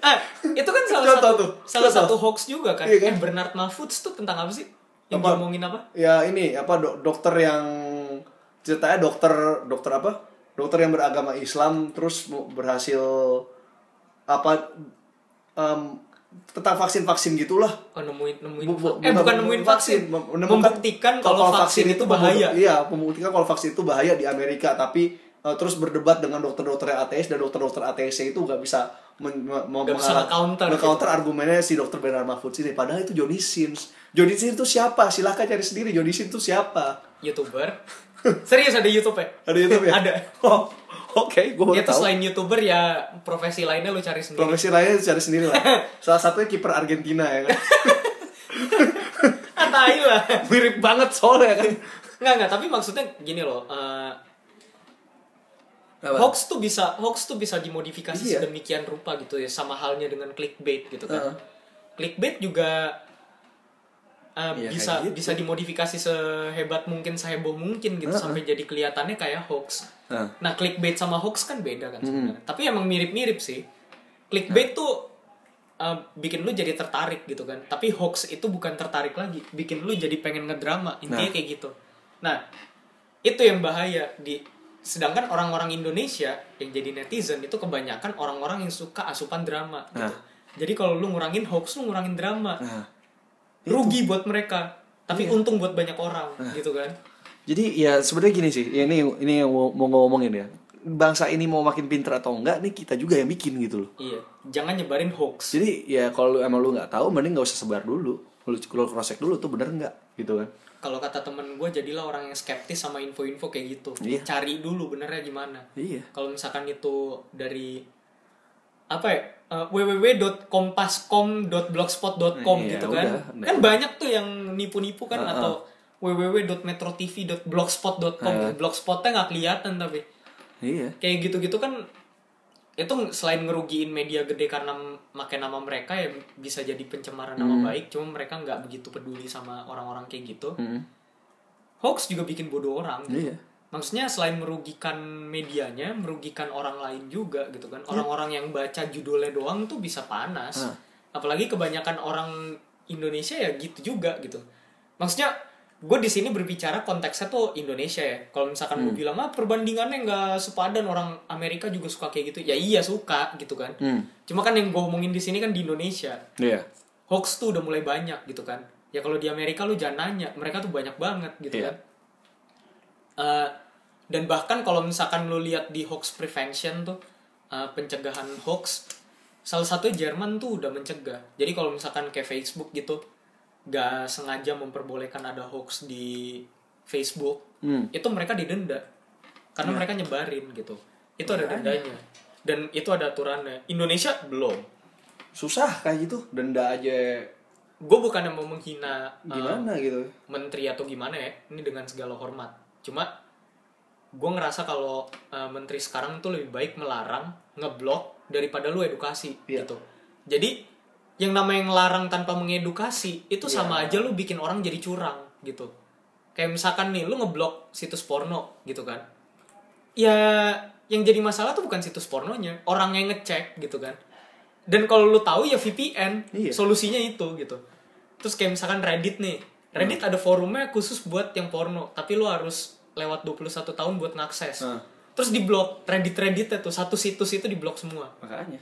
Speaker 1: ah itu kan salah
Speaker 2: Contoh
Speaker 1: satu
Speaker 2: tuh,
Speaker 1: salah
Speaker 2: contoh.
Speaker 1: satu hoax juga kan,
Speaker 2: Iya kan?
Speaker 1: Eh, Bernard Mahfudz tuh tentang apa sih yang
Speaker 2: Apa?
Speaker 1: ngomongin apa
Speaker 2: ya ini apa dok- dokter yang ceritanya dokter dokter apa? Dokter yang beragama Islam terus mu- berhasil apa em, tentang vaksin-vaksin gitulah.
Speaker 1: Oh, nemuin nemuin
Speaker 2: Bu- bu-
Speaker 1: eh bukan
Speaker 2: mem-
Speaker 1: nemuin vaksin,
Speaker 2: mem-
Speaker 1: membuktikan kalau vaksin, itu
Speaker 2: membu-
Speaker 1: bahaya.
Speaker 2: iya membuktikan kalau vaksin itu bahaya di Amerika tapi eh, terus berdebat dengan dokter-dokter ATS dan dokter-dokter ATS itu nggak bisa men- me- me-
Speaker 1: Nggak bisa
Speaker 2: mengalah-
Speaker 1: nge-counter.
Speaker 2: nge-counter argumennya si dokter Bernard Mahfudz ini padahal itu Johnny Sins Johnny Sins itu siapa silahkan cari sendiri Johnny Sins itu siapa
Speaker 1: YouTuber Serius ada YouTube ya?
Speaker 2: Ada YouTube ya?
Speaker 1: Ada.
Speaker 2: Oh, Oke, gue baru
Speaker 1: Ya terus
Speaker 2: tahu.
Speaker 1: selain YouTuber ya profesi lainnya lu cari sendiri.
Speaker 2: Profesi lainnya cari sendiri lah. Salah satunya kiper Argentina ya kan.
Speaker 1: Ah, tai lah.
Speaker 2: Mirip banget soalnya kan.
Speaker 1: Nggak, nggak. Tapi maksudnya gini loh. eh, hoax tuh bisa hoax tuh bisa dimodifikasi
Speaker 2: Iya.
Speaker 1: sedemikian rupa gitu ya. Sama halnya dengan clickbait gitu
Speaker 2: Heeh.
Speaker 1: kan. Clickbait juga eh,
Speaker 2: Iya,
Speaker 1: bisa
Speaker 2: kayak gitu.
Speaker 1: bisa dimodifikasi sehebat mungkin seheboh mungkin gitu
Speaker 2: Heeh.
Speaker 1: sampai jadi kelihatannya kayak hoax.
Speaker 2: Heeh.
Speaker 1: Nah, clickbait sama hoax kan beda kan
Speaker 2: Mm-hmm.
Speaker 1: sebenarnya. Tapi emang mirip-mirip sih. Clickbait tuh uh, bikin lu jadi tertarik gitu kan. Tapi hoax itu bukan tertarik lagi, bikin lu jadi pengen ngedrama. Intinya
Speaker 2: Nah.
Speaker 1: kayak gitu. Nah, itu yang bahaya di sedangkan orang-orang Indonesia yang jadi netizen itu kebanyakan orang-orang yang suka asupan drama gitu.
Speaker 2: Nah.
Speaker 1: Jadi kalau lu ngurangin hoax, lu ngurangin drama.
Speaker 2: Nah, Iya.
Speaker 1: Rugi buat mereka, tapi untung buat banyak orang
Speaker 2: Nah.
Speaker 1: gitu kan.
Speaker 2: Jadi ya sebenarnya gini sih, ya ini ini yang mau, mau ngomongin ya. Bangsa ini mau makin pinter atau enggak nih kita juga yang bikin gitu loh.
Speaker 1: Iya, jangan nyebarin hoax.
Speaker 2: Jadi ya kalau lu- emang lu nggak tahu mending nggak usah sebar dulu. Lu lu cross check dulu tuh bener nggak gitu kan.
Speaker 1: kalau kata temen gue jadilah orang yang skeptis sama info-info kayak gitu
Speaker 2: Iya.
Speaker 1: cari dulu benernya gimana
Speaker 2: Iya.
Speaker 1: kalau misalkan itu dari apa ya uh, www.kompas.com.blogspot.com
Speaker 2: Iya,
Speaker 1: gitu kan
Speaker 2: udah.
Speaker 1: kan banyak tuh yang nipu-nipu kan
Speaker 2: Uh-uh.
Speaker 1: atau www.metrotv.blogspot.com blogspotnya nggak kelihatan tapi
Speaker 2: Iya.
Speaker 1: kayak gitu-gitu kan itu selain ngerugiin media gede karena m- make nama mereka ya bisa jadi pencemaran
Speaker 2: Hmm.
Speaker 1: nama baik cuma mereka nggak begitu peduli sama orang-orang kayak gitu
Speaker 2: Mm-mm.
Speaker 1: hoax juga bikin bodoh orang gitu.
Speaker 2: Iya.
Speaker 1: Maksudnya selain merugikan medianya, merugikan orang lain juga gitu kan. Orang-orang yang baca judulnya doang tuh bisa panas.
Speaker 2: Hah.
Speaker 1: Apalagi kebanyakan orang Indonesia ya gitu juga gitu. Maksudnya gue di sini berbicara konteksnya tuh Indonesia ya. Kalau misalkan gue bilang ah perbandingannya nggak sepadan orang Amerika juga suka kayak gitu. Ya iya suka gitu kan.
Speaker 2: Hmm.
Speaker 1: Cuma kan yang gue omongin di sini kan di Indonesia
Speaker 2: Iya.
Speaker 1: hoax tuh udah mulai banyak gitu kan ya kalau di Amerika lu jangan nanya mereka tuh banyak banget gitu
Speaker 2: Iya.
Speaker 1: kan Eh, dan bahkan kalau misalkan lu lihat di hoax prevention tuh eh, pencegahan hoax salah satu Jerman tuh udah mencegah jadi kalau misalkan kayak Facebook gitu gak sengaja memperbolehkan ada hoax di Facebook
Speaker 2: Hmm. Iya.
Speaker 1: itu mereka didenda karena mereka nyebarin gitu itu ada dendanya dan itu ada aturannya Indonesia belum
Speaker 2: Susah kayak gitu. Denda aja
Speaker 1: gue bukan mau menghina eh,
Speaker 2: gimana gitu.
Speaker 1: menteri atau gimana ya ini dengan segala hormat cuma gue ngerasa kalau uh, menteri sekarang tuh lebih baik melarang ngeblok daripada lu edukasi
Speaker 2: Iya.
Speaker 1: gitu jadi yang namanya ngelarang tanpa mengedukasi
Speaker 2: Iya.
Speaker 1: itu sama aja lu bikin orang jadi curang gitu kayak misalkan nih lu ngeblok situs porno gitu kan ya yang jadi masalah tuh bukan situs pornonya orang yang ngecek gitu kan dan kalau lu tahu ya VPN
Speaker 2: Iya.
Speaker 1: solusinya itu gitu terus kayak misalkan Reddit nih Reddit
Speaker 2: Hmm.
Speaker 1: ada forumnya khusus buat yang porno tapi lu harus lewat 21 tahun buat ngakses
Speaker 2: Hmm.
Speaker 1: terus diblok Reddit Reddit itu satu situs itu diblok semua
Speaker 2: Makanya.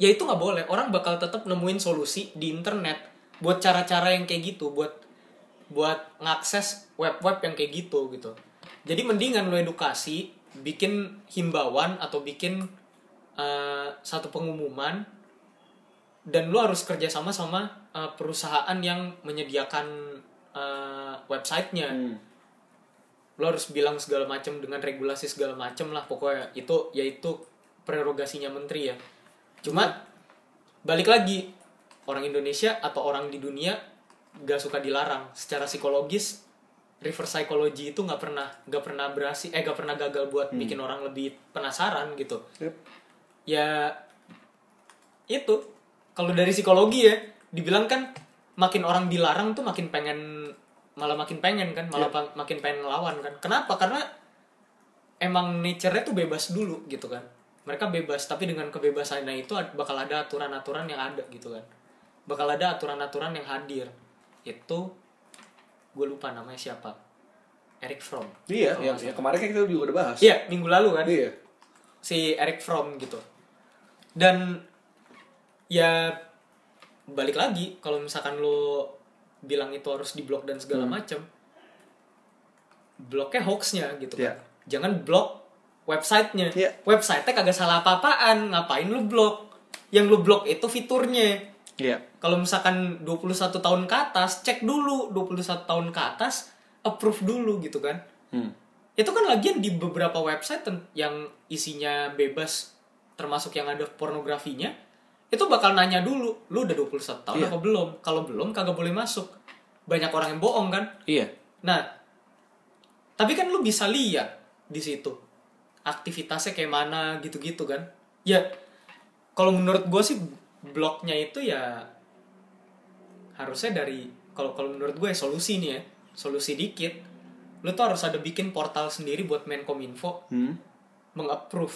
Speaker 1: ya itu nggak boleh orang bakal tetap nemuin solusi di internet buat cara-cara yang kayak gitu buat buat ngakses web-web yang kayak gitu gitu jadi mendingan lo edukasi bikin himbauan atau bikin eh, satu pengumuman dan lo harus kerjasama sama eh, perusahaan yang menyediakan eh, websitenya
Speaker 2: Hmm.
Speaker 1: lo harus bilang segala macam dengan regulasi segala macam lah pokoknya itu yaitu prerogasinya menteri ya cuma balik lagi orang Indonesia atau orang di dunia gak suka dilarang secara psikologis reverse psychology itu nggak pernah nggak pernah berhasil eh gak pernah gagal buat bikin orang lebih penasaran gitu
Speaker 2: Yep.
Speaker 1: ya itu kalau dari psikologi ya dibilang kan makin orang dilarang tuh makin pengen malah makin pengen kan malah
Speaker 2: Iya.
Speaker 1: pa- makin pengen ngelawan kan kenapa karena emang nature-nya tuh bebas dulu gitu kan mereka bebas tapi dengan kebebasannya itu ad- bakal ada aturan-aturan yang ada gitu kan bakal ada aturan-aturan yang hadir itu gue lupa namanya siapa Eric Fromm
Speaker 2: Iya,
Speaker 1: Kalau
Speaker 2: ya,
Speaker 1: nggak
Speaker 2: ya, kemarin kan kita juga udah bahas.
Speaker 1: iya minggu lalu kan
Speaker 2: Iya.
Speaker 1: si Eric Fromm gitu. Dan ya balik lagi kalau misalkan lo bilang itu harus diblok dan segala
Speaker 2: Hmm.
Speaker 1: macem bloknya hoaxnya gitu kan.
Speaker 2: Iya.
Speaker 1: Jangan blok websitenya.
Speaker 2: Iya.
Speaker 1: Websitenya kagak salah apa-apaan, ngapain lu blok? Yang lu blok itu fiturnya.
Speaker 2: Iya.
Speaker 1: Kalau misalkan 21 tahun ke atas, cek dulu 21 tahun ke atas, approve dulu gitu kan
Speaker 2: Hmm.
Speaker 1: itu kan lagian di beberapa website ten- yang isinya bebas termasuk yang ada pornografinya itu bakal nanya dulu lu udah 21 tahun
Speaker 2: Iya.
Speaker 1: apa belum kalau belum kagak boleh masuk banyak orang yang bohong kan
Speaker 2: Iya.
Speaker 1: Nah, tapi kan lu bisa lihat di situ aktivitasnya kayak mana gitu-gitu kan. Ya, kalau menurut gue sih bloknya itu ya harusnya dari kalau kalau menurut gue ya solusi nih ya solusi dikit lu tuh harus ada bikin portal sendiri buat Menkominfo
Speaker 2: Hmm.
Speaker 1: mengapprove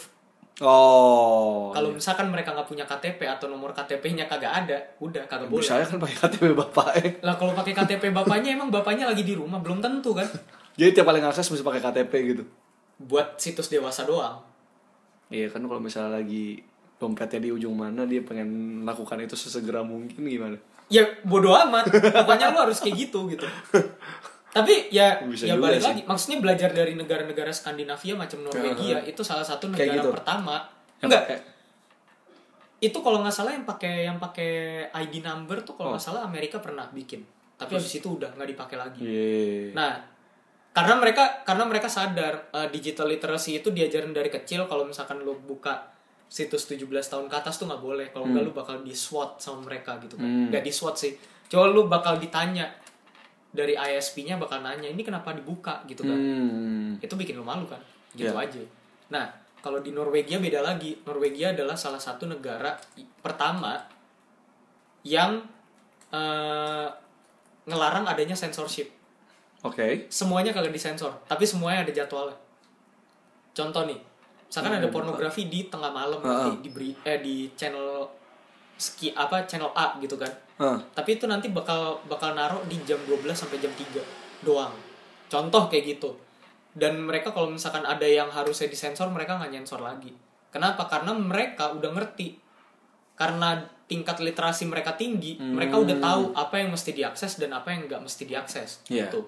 Speaker 2: Oh.
Speaker 1: kalau misalkan mereka nggak punya KTP atau nomor KTP-nya kagak ada udah kagak boleh
Speaker 2: saya kan pakai KTP bapak eh.
Speaker 1: lah kalau pakai KTP bapaknya emang bapaknya lagi di rumah belum tentu kan
Speaker 2: Jadi tiap paling akses mesti pakai KTP gitu.
Speaker 1: buat situs dewasa doang
Speaker 2: Iya kan kalau misalnya lagi dompetnya di ujung mana dia pengen lakukan itu sesegera mungkin gimana?
Speaker 1: ya bodoh amat pokoknya lu harus kayak gitu gitu tapi ya
Speaker 2: Bisa
Speaker 1: ya
Speaker 2: juga
Speaker 1: balik
Speaker 2: sih.
Speaker 1: lagi maksudnya belajar dari negara-negara Skandinavia macam Norwegia itu salah satu negara
Speaker 2: Kayak gitu.
Speaker 1: pertama
Speaker 2: Yang
Speaker 1: enggak
Speaker 2: pakai-
Speaker 1: itu kalau nggak salah yang pakai yang pakai ID number tuh kalau
Speaker 2: Oh.
Speaker 1: nggak salah Amerika pernah bikin tapi habis itu udah nggak dipakai lagi
Speaker 2: Iya.
Speaker 1: nah karena mereka karena mereka sadar eh, digital literacy itu diajarin dari kecil kalau misalkan lu buka situs 17 tahun ke atas tuh nggak boleh kalau nggak lu bakal di SWAT sama mereka gitu kan
Speaker 2: Hmm.
Speaker 1: nggak di SWAT sih coba lu bakal ditanya dari ISP-nya bakal nanya ini kenapa dibuka gitu kan
Speaker 2: Hmm.
Speaker 1: itu bikin lu malu kan gitu
Speaker 2: Iya.
Speaker 1: aja nah kalau di Norwegia beda lagi Norwegia adalah salah satu negara i- pertama yang eh, ngelarang adanya censorship
Speaker 2: Oke.
Speaker 1: semuanya kagak disensor tapi semuanya ada jadwalnya contoh nih misalkan ada pornografi di tengah malam
Speaker 2: Oh, iya, Heeh.
Speaker 1: di, di beri- eh, di channel ski apa channel A gitu kan
Speaker 2: Ah.
Speaker 1: tapi itu nanti bakal bakal naruh di jam 12 sampai jam 3 doang contoh kayak gitu dan mereka kalau misalkan ada yang harusnya disensor mereka nggak nyensor lagi kenapa karena mereka udah ngerti karena tingkat literasi mereka tinggi mereka udah
Speaker 2: Hmm.
Speaker 1: tahu apa yang mesti diakses dan apa yang nggak mesti diakses
Speaker 2: Iya.
Speaker 1: gitu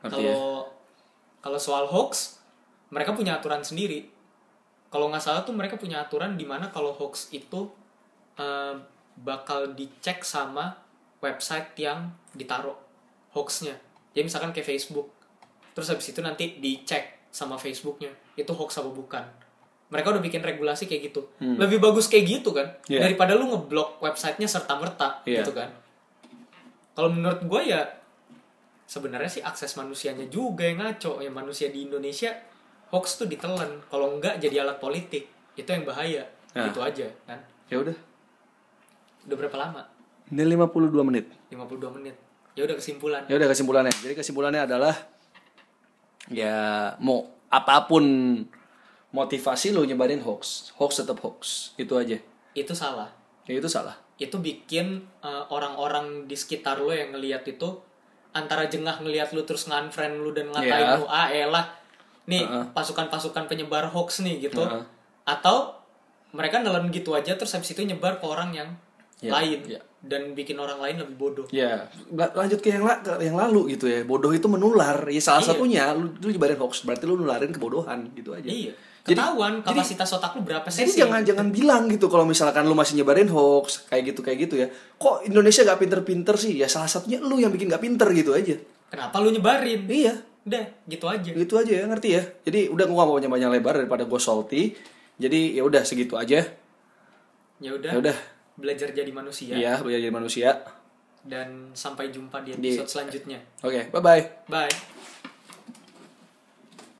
Speaker 2: Ngerti ya?
Speaker 1: kalau kalau soal hoax mereka punya aturan sendiri kalau nggak salah tuh mereka punya aturan di mana kalau hoax itu eh, bakal dicek sama website yang ditaruh hoaxnya jadi misalkan kayak Facebook terus habis itu nanti dicek sama Facebooknya itu hoax apa bukan mereka udah bikin regulasi kayak gitu lebih bagus kayak gitu kan
Speaker 2: Hmm. Iya.
Speaker 1: daripada lu ngeblok websitenya serta merta
Speaker 2: Iya.
Speaker 1: gitu kan kalau menurut gue ya sebenarnya sih akses manusianya juga yang ngaco ya manusia di Indonesia hoax tuh ditelan kalau enggak jadi alat politik itu yang bahaya
Speaker 2: Nah.
Speaker 1: gitu aja kan
Speaker 2: Ya udah.
Speaker 1: udah berapa lama
Speaker 2: Ini 52 menit.
Speaker 1: 52 menit ya udah kesimpulan
Speaker 2: Ya udah kesimpulannya. Jadi kesimpulannya adalah ya mau apapun motivasi lo nyebarin hoax, hoax tetap hoax. Itu aja.
Speaker 1: itu salah
Speaker 2: Ya itu salah.
Speaker 1: itu bikin eh, orang-orang di sekitar lo yang ngelihat itu antara jengah ngelihat lu terus nganfriend lu dan ngatain
Speaker 2: Iya.
Speaker 1: lu ah elah nih pasukan-pasukan penyebar hoax nih gitu
Speaker 2: Heeh.
Speaker 1: atau mereka nelen gitu aja terus habis itu nyebar ke orang yang
Speaker 2: Iya,
Speaker 1: lain
Speaker 2: iya.
Speaker 1: dan bikin orang lain lebih bodoh
Speaker 2: Ya, la- lanjut ke yang, la- ke yang lalu gitu ya. Bodoh itu menular. Ya salah
Speaker 1: Iya.
Speaker 2: satunya lu, lu nyebarin hoax berarti lu nularin kebodohan gitu aja.
Speaker 1: iya
Speaker 2: Jadi-
Speaker 1: ketahuan kapasitas otak lu berapa
Speaker 2: Jadi
Speaker 1: sih
Speaker 2: jangan jangan bilang gitu kalau misalkan lu masih nyebarin hoax kayak gitu kayak gitu ya. Kok Indonesia gak pinter-pinter sih? Ya salah satunya lu yang bikin gak pinter gitu aja.
Speaker 1: kenapa lu nyebarin
Speaker 2: Iya,
Speaker 1: udah gitu aja
Speaker 2: gitu aja ya ngerti ya. Jadi udah gua gak mau banyak-banyak lebar daripada gua salty. Jadi ya udah segitu aja.
Speaker 1: ya
Speaker 2: Ya
Speaker 1: udah Iya.
Speaker 2: udah.
Speaker 1: belajar jadi manusia
Speaker 2: Iya, belajar jadi manusia.
Speaker 1: dan sampai jumpa di
Speaker 2: Di-
Speaker 1: episode selanjutnya
Speaker 2: Oke, bye bye.
Speaker 1: bye